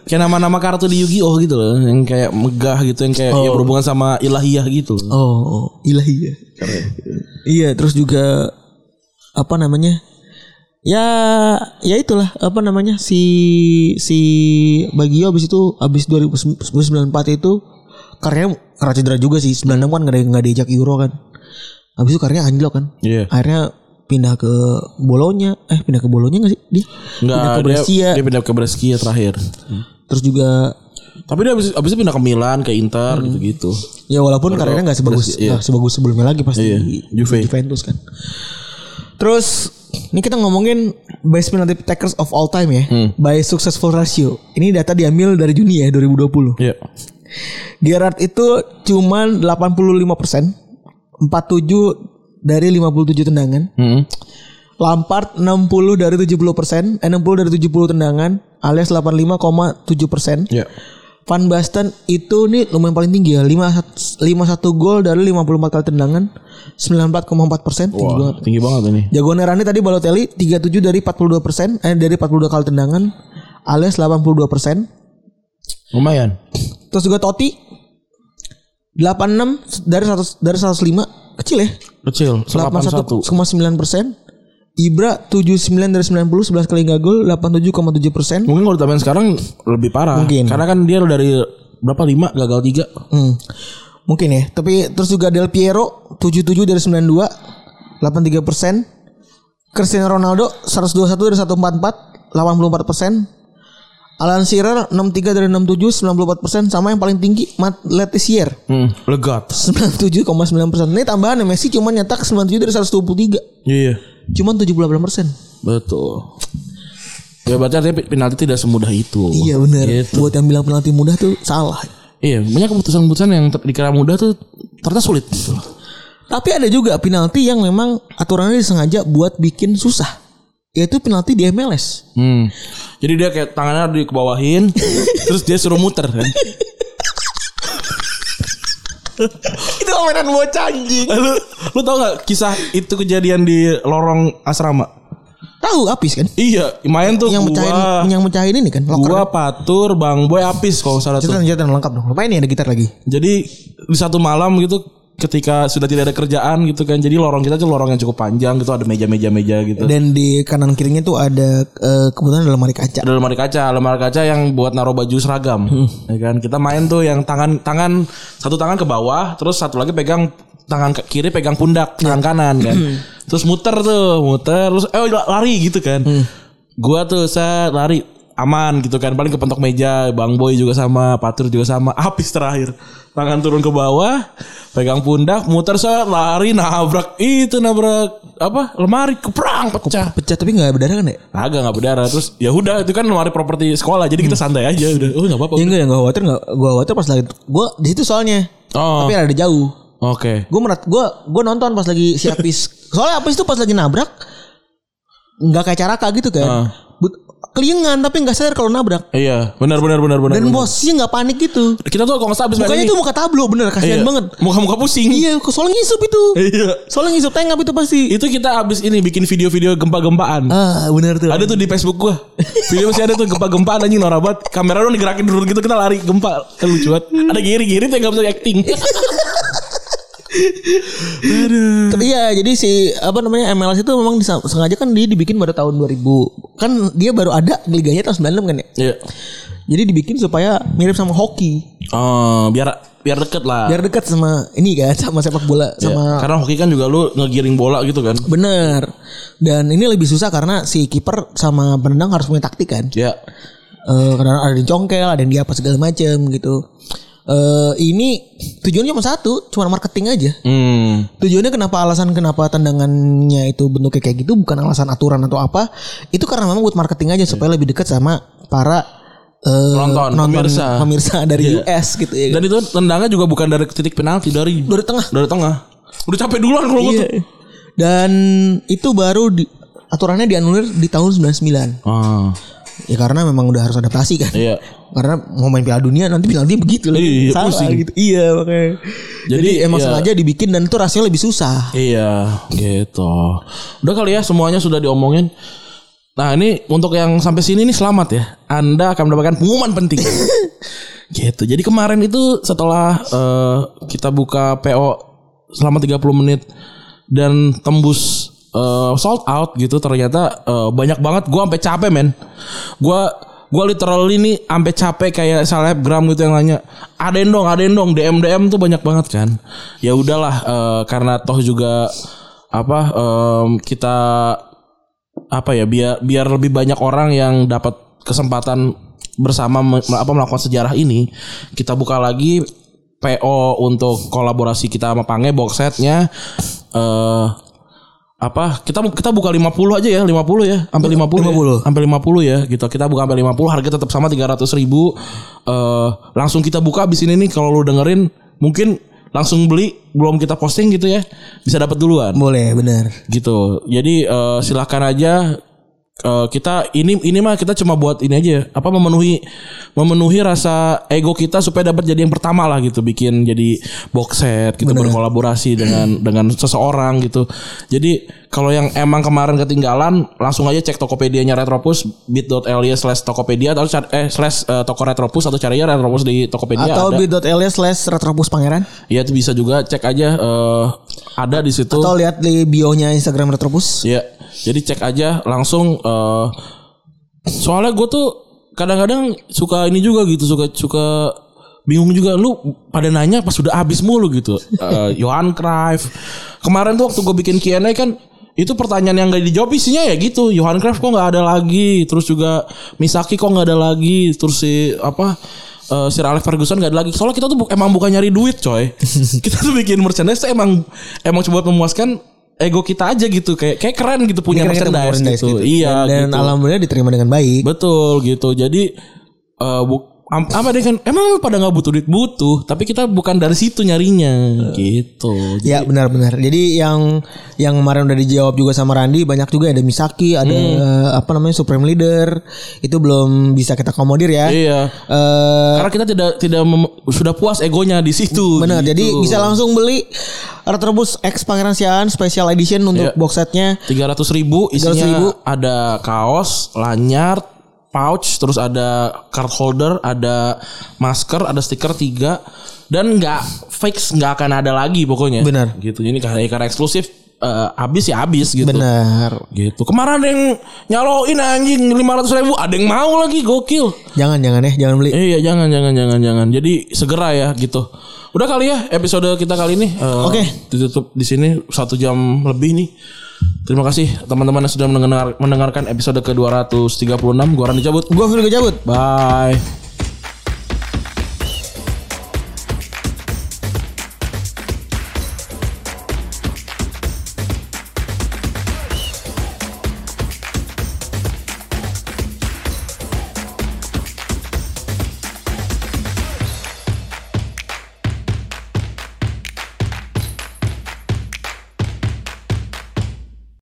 Speaker 3: Kayak nama-nama kartu di Yu-Gi-Oh gitu loh, yang kayak megah gitu, yang kayak ya berhubungan sama ilahiyah gitu. loh.
Speaker 4: Oh, oh ilahi ya. Iya, terus juga apa namanya? Ya, ya itulah apa namanya si si Bagio abis itu abis 2094 itu karyanya Racedra juga sih 96 kan nggak di- nggak diajak Euro kan abis itu karyanya anjlok kan
Speaker 3: Iya.
Speaker 4: akhirnya pindah ke Bolonya eh pindah ke Bolonya nggak sih dia
Speaker 3: Enggak,
Speaker 4: pindah ke
Speaker 3: dia-
Speaker 4: Brescia
Speaker 3: Dia, pindah ke Brescia terakhir.
Speaker 4: terus juga
Speaker 3: Tapi dia abis, abis itu pindah ke Milan, ke
Speaker 4: Hmm.
Speaker 3: Inter gitu-gitu.
Speaker 4: Ya walaupun karirnya nggak sebagus
Speaker 3: Terus, iya.
Speaker 4: nggak sebagus sebelumnya lagi pasti
Speaker 3: Iya,
Speaker 4: di
Speaker 3: Juve.
Speaker 4: Juventus kan. Terus ini kita ngomongin best penalty takers of all time ya
Speaker 3: Hmm.
Speaker 4: by successful ratio. Ini data diambil dari Juni ya 2020.
Speaker 3: Iya.
Speaker 4: Gerard itu cuman 85 47 dari 57 tendangan.
Speaker 3: Heeh.
Speaker 4: Lampard 60 dari 70 eh 60 dari 70 tendangan alias 85,7
Speaker 3: Iya.
Speaker 4: Van Basten itu nih lumayan paling tinggi ya 51 51 gol dari 54 kali tendangan 94,4 persen tinggi
Speaker 3: Wah,
Speaker 4: banget
Speaker 3: tinggi banget ini.
Speaker 4: Jagoan Rani tadi Balotelli 37 dari 42 persen eh dari 42 kali tendangan alias 82 persen
Speaker 3: Lumayan.
Speaker 4: terus juga Totti 86 dari 100 dari 105 kecil ya
Speaker 3: Kecil,
Speaker 4: 81,9
Speaker 3: 81.
Speaker 4: persen Ibra 79 dari 90 11 kali nggak gol 87,7 persen
Speaker 3: Mungkin kalau ditambahin sekarang lebih parah.
Speaker 4: Mungkin.
Speaker 3: Karena kan dia dari berapa lima gagal tiga.
Speaker 4: Hmm. Mungkin ya. Tapi terus juga Del Piero 77 dari 92 83 persen. Cristiano Ronaldo 121 dari 144 84 persen. Alan Shearer 63 dari 67 94 persen sama yang paling tinggi Matt Letizier
Speaker 3: Hmm. Legat.
Speaker 4: 97,9 persen. Ini tambahan ya, Messi cuma nyetak 97 dari 123.
Speaker 3: Iya.
Speaker 4: Cuman 78 persen.
Speaker 3: Betul. Ya berarti artinya penalti tidak semudah itu.
Speaker 4: Iya benar.
Speaker 3: Gitu.
Speaker 4: Buat yang bilang penalti mudah tuh salah.
Speaker 3: Iya, banyak keputusan-keputusan yang ter- dikira mudah tuh ternyata sulit. Gitu. loh.
Speaker 4: Tapi ada juga penalti yang memang aturannya disengaja buat bikin susah. Yaitu penalti di MLS.
Speaker 3: Hmm. Jadi dia kayak tangannya dikebawahin, terus dia suruh muter kan.
Speaker 4: Itu mainan bocah anjing.
Speaker 3: Eh, lu, lu tau gak kisah itu kejadian di lorong asrama?
Speaker 4: Tahu Apis kan?
Speaker 3: Iya, main tuh
Speaker 4: Yang
Speaker 3: gua,
Speaker 4: mecahin yang mecahin ini kan
Speaker 3: gua
Speaker 4: locker.
Speaker 3: patur, bang boy apis kalau nggak salah tuh.
Speaker 4: Cetan cetan lengkap dong. Lupa ini ada gitar lagi.
Speaker 3: Jadi di satu malam gitu ketika sudah tidak ada kerjaan gitu kan. Jadi lorong kita tuh lorong yang cukup panjang gitu ada meja-meja-meja gitu.
Speaker 4: Dan di kanan kirinya tuh ada eh, kebetulan ada lemari kaca.
Speaker 3: ada lemari kaca, lemari kaca yang buat naruh baju seragam. Ya kan kita main tuh yang tangan tangan satu tangan ke bawah, terus satu lagi pegang tangan ke- kiri pegang pundak tangan kanan kan. terus muter tuh, muter terus eh lari gitu kan. Gua tuh saya lari aman gitu kan paling kepentok meja bang boy juga sama patur juga sama habis terakhir tangan turun ke bawah pegang pundak muter saya lari nabrak itu nabrak apa lemari keprang pecah
Speaker 4: Pecah tapi nggak berdarah kan ya?
Speaker 3: Agak nggak berdarah terus ya udah itu kan lemari properti sekolah jadi
Speaker 4: Hmm.
Speaker 3: kita santai aja udah oh nggak apa-apa.
Speaker 4: Ya enggak ya enggak khawatir enggak gua khawatir pas lagi gua di situ soalnya.
Speaker 3: Oh
Speaker 4: Tapi ada jauh.
Speaker 3: oke
Speaker 4: Gua merat gua gua nonton pas lagi si Apis. Soalnya Apis tuh pas lagi nabrak nggak kayak caraka gitu kan.
Speaker 3: Ah.
Speaker 4: But- kelingan tapi nggak sadar kalau nabrak.
Speaker 3: Iya, benar benar benar benar.
Speaker 4: Dan
Speaker 3: benar.
Speaker 4: bosnya nggak panik gitu.
Speaker 3: kita tuh kalau nggak salah abis main
Speaker 4: Mukanya
Speaker 3: ini.
Speaker 4: tuh muka tablo bener kasihan
Speaker 3: Iya.
Speaker 4: banget.
Speaker 3: Muka-muka pusing.
Speaker 4: Iya, soalnya ngisup itu.
Speaker 3: Iya.
Speaker 4: Soalnya ngisup tengap itu pasti.
Speaker 3: Itu kita abis ini bikin video-video gempa-gempaan.
Speaker 4: Ah, bener tuh.
Speaker 3: Ada tuh di Facebook gua. Video masih ada tuh gempa-gempaan anjing norak banget. Kamera doang digerakin dulu gitu kita lari gempa. Kan lucu banget. Ada giri-giri tuh yang gak bisa acting.
Speaker 4: Tapi iya, jadi si apa namanya MLS itu memang disa- sengaja kan dia dibikin pada tahun 2000. Kan dia baru ada liganya tahun 96 kan ya.
Speaker 3: Iya.
Speaker 4: Jadi dibikin supaya mirip sama hoki.
Speaker 3: Oh, biar biar deket lah.
Speaker 4: Biar dekat sama ini kan sama sepak
Speaker 3: Ah.
Speaker 4: bola
Speaker 3: Iya.
Speaker 4: sama
Speaker 3: Karena hoki kan juga lu ngegiring bola gitu kan.
Speaker 4: bener. Dan ini lebih susah karena si kiper sama penendang harus punya taktik kan.
Speaker 3: Iya.
Speaker 4: Eh, karena ada yang congkel, ada yang di apa segala macam gitu. Eh ini tujuannya cuma satu, cuma marketing aja.
Speaker 3: Hmm.
Speaker 4: Tujuannya kenapa alasan kenapa tendangannya itu bentuknya kayak gitu bukan alasan aturan atau apa. Itu karena memang buat marketing aja supaya lebih dekat sama para eh,
Speaker 3: Iya. Penonton, pemirsa.
Speaker 4: dari
Speaker 3: Iya.
Speaker 4: US gitu ya.
Speaker 3: Dan itu tendangnya juga bukan dari titik penalti dari
Speaker 4: dari tengah.
Speaker 3: dari tengah. Udah capek duluan kalau gitu. gua tuh.
Speaker 4: Iya. Dan itu baru di- aturannya dianulir di tahun 99.
Speaker 3: Ah.
Speaker 4: Ya karena memang udah harus adaptasi kan.
Speaker 3: Iya.
Speaker 4: Karena mau main Piala Dunia nanti penalti begitu
Speaker 3: Iya,
Speaker 4: Salah
Speaker 3: pusing.
Speaker 4: gitu. Iya makanya. Jadi, emang
Speaker 3: iya.
Speaker 4: sengaja dibikin dan itu rasanya lebih susah.
Speaker 3: Iya, gitu. Udah kali ya semuanya sudah diomongin. Nah, ini untuk yang sampai sini nih selamat ya. Anda akan mendapatkan pengumuman penting. gitu. Jadi kemarin itu setelah eh, kita buka PO selama 30 menit dan tembus eh, sold out gitu ternyata eh, banyak banget gua sampai capek men. Gua gua literally nih sampai capek kayak selebgram gitu yang nanya ada dong ada dong DM DM tuh banyak banget kan ya udahlah eh, karena toh juga apa em, kita apa ya biar biar lebih banyak orang yang dapat kesempatan bersama me- apa melakukan sejarah ini kita buka lagi PO untuk kolaborasi kita sama Pange box setnya eh apa kita kita buka 50 aja ya 50 ya sampai 50 50 sampai 50 ya gitu kita buka sampai 50 harga tetap sama 300 ribu eh langsung kita buka abis ini nih kalau lu dengerin mungkin langsung beli belum kita posting gitu ya bisa dapat duluan
Speaker 4: Boleh bener.
Speaker 3: gitu jadi eh, silakan aja eh, kita ini ini mah kita cuma buat ini aja apa memenuhi memenuhi rasa ego kita supaya dapat jadi yang pertama lah gitu bikin jadi box set gitu berkolaborasi dengan dengan seseorang gitu jadi kalau yang emang kemarin ketinggalan langsung aja cek Tokopedia-nya Retropus bit.ly slash Tokopedia atau cari- eh slash eh, toko Retropus atau cari aja Retropus di Tokopedia
Speaker 4: Atau
Speaker 3: ada
Speaker 4: bit.ly slash retropus pangeran.
Speaker 3: ya itu bisa juga cek aja eh, ada di situ
Speaker 4: Atau lihat di bio-nya Instagram Retropus.
Speaker 3: Ya, jadi cek aja langsung. eh, soalnya gue tuh kadang-kadang suka ini juga gitu, suka suka bingung juga lu pada nanya pas sudah habis mulu gitu. Eh, Johan Cruyff. Kemarin tuh waktu gue bikin Q&A kan itu pertanyaan yang gak dijawab isinya ya gitu. Johan Cruyff kok nggak ada lagi, terus juga Misaki kok nggak ada lagi, terus si apa eh Sir Alex Ferguson gak ada lagi. Soalnya kita tuh bu- emang bukan nyari duit, coy. kita tuh bikin merchandise tuh emang emang coba buat memuaskan ego kita aja gitu kayak kayak keren gitu punya
Speaker 4: Kira-kira kita
Speaker 3: merchandise,
Speaker 4: merchandise
Speaker 3: gitu.
Speaker 4: gitu.
Speaker 3: Iya gitu.
Speaker 4: Dan alhamdulillah diterima dengan baik.
Speaker 3: Betul gitu. Jadi eh bu- am- apa deh kan emang lu pada nggak butuh duit butuh, tapi kita bukan dari situ nyarinya gitu.
Speaker 4: Ya benar-benar. Jadi yang yang kemarin udah dijawab juga sama Randi banyak juga ada Misaki, ada
Speaker 3: Hmm.
Speaker 4: eh, apa namanya Supreme Leader. Itu belum bisa kita komodir ya.
Speaker 3: Iya.
Speaker 4: Eh,
Speaker 3: Karena kita tidak tidak mem- sudah puas egonya di situ.
Speaker 4: Benar,
Speaker 3: gitu.
Speaker 4: jadi bisa langsung beli Retrobus X Pangeran Siaan Special Edition
Speaker 3: Iya.
Speaker 4: untuk box setnya.
Speaker 3: tiga ratus ribu isinya
Speaker 4: 300.000.
Speaker 3: ada kaos lanyard pouch terus ada card holder ada masker ada stiker tiga dan nggak fix nggak akan ada lagi pokoknya
Speaker 4: Benar.
Speaker 3: gitu ini karena, karena eksklusif eh, habis ya habis gitu
Speaker 4: Benar.
Speaker 3: gitu kemarin ada yang nyaloin anjing lima ratus ribu ada yang mau lagi gokil
Speaker 4: Jangan jangan ya, jangan beli.
Speaker 3: iya jangan jangan jangan jangan jadi segera ya gitu udah kali ya episode kita kali ini Eh,
Speaker 4: Oke.
Speaker 3: ditutup di sini satu jam lebih nih terima kasih teman-teman yang sudah mendengar- mendengarkan episode ke 236 gua Rani cabut
Speaker 4: Gua Virgo cabut.
Speaker 3: bye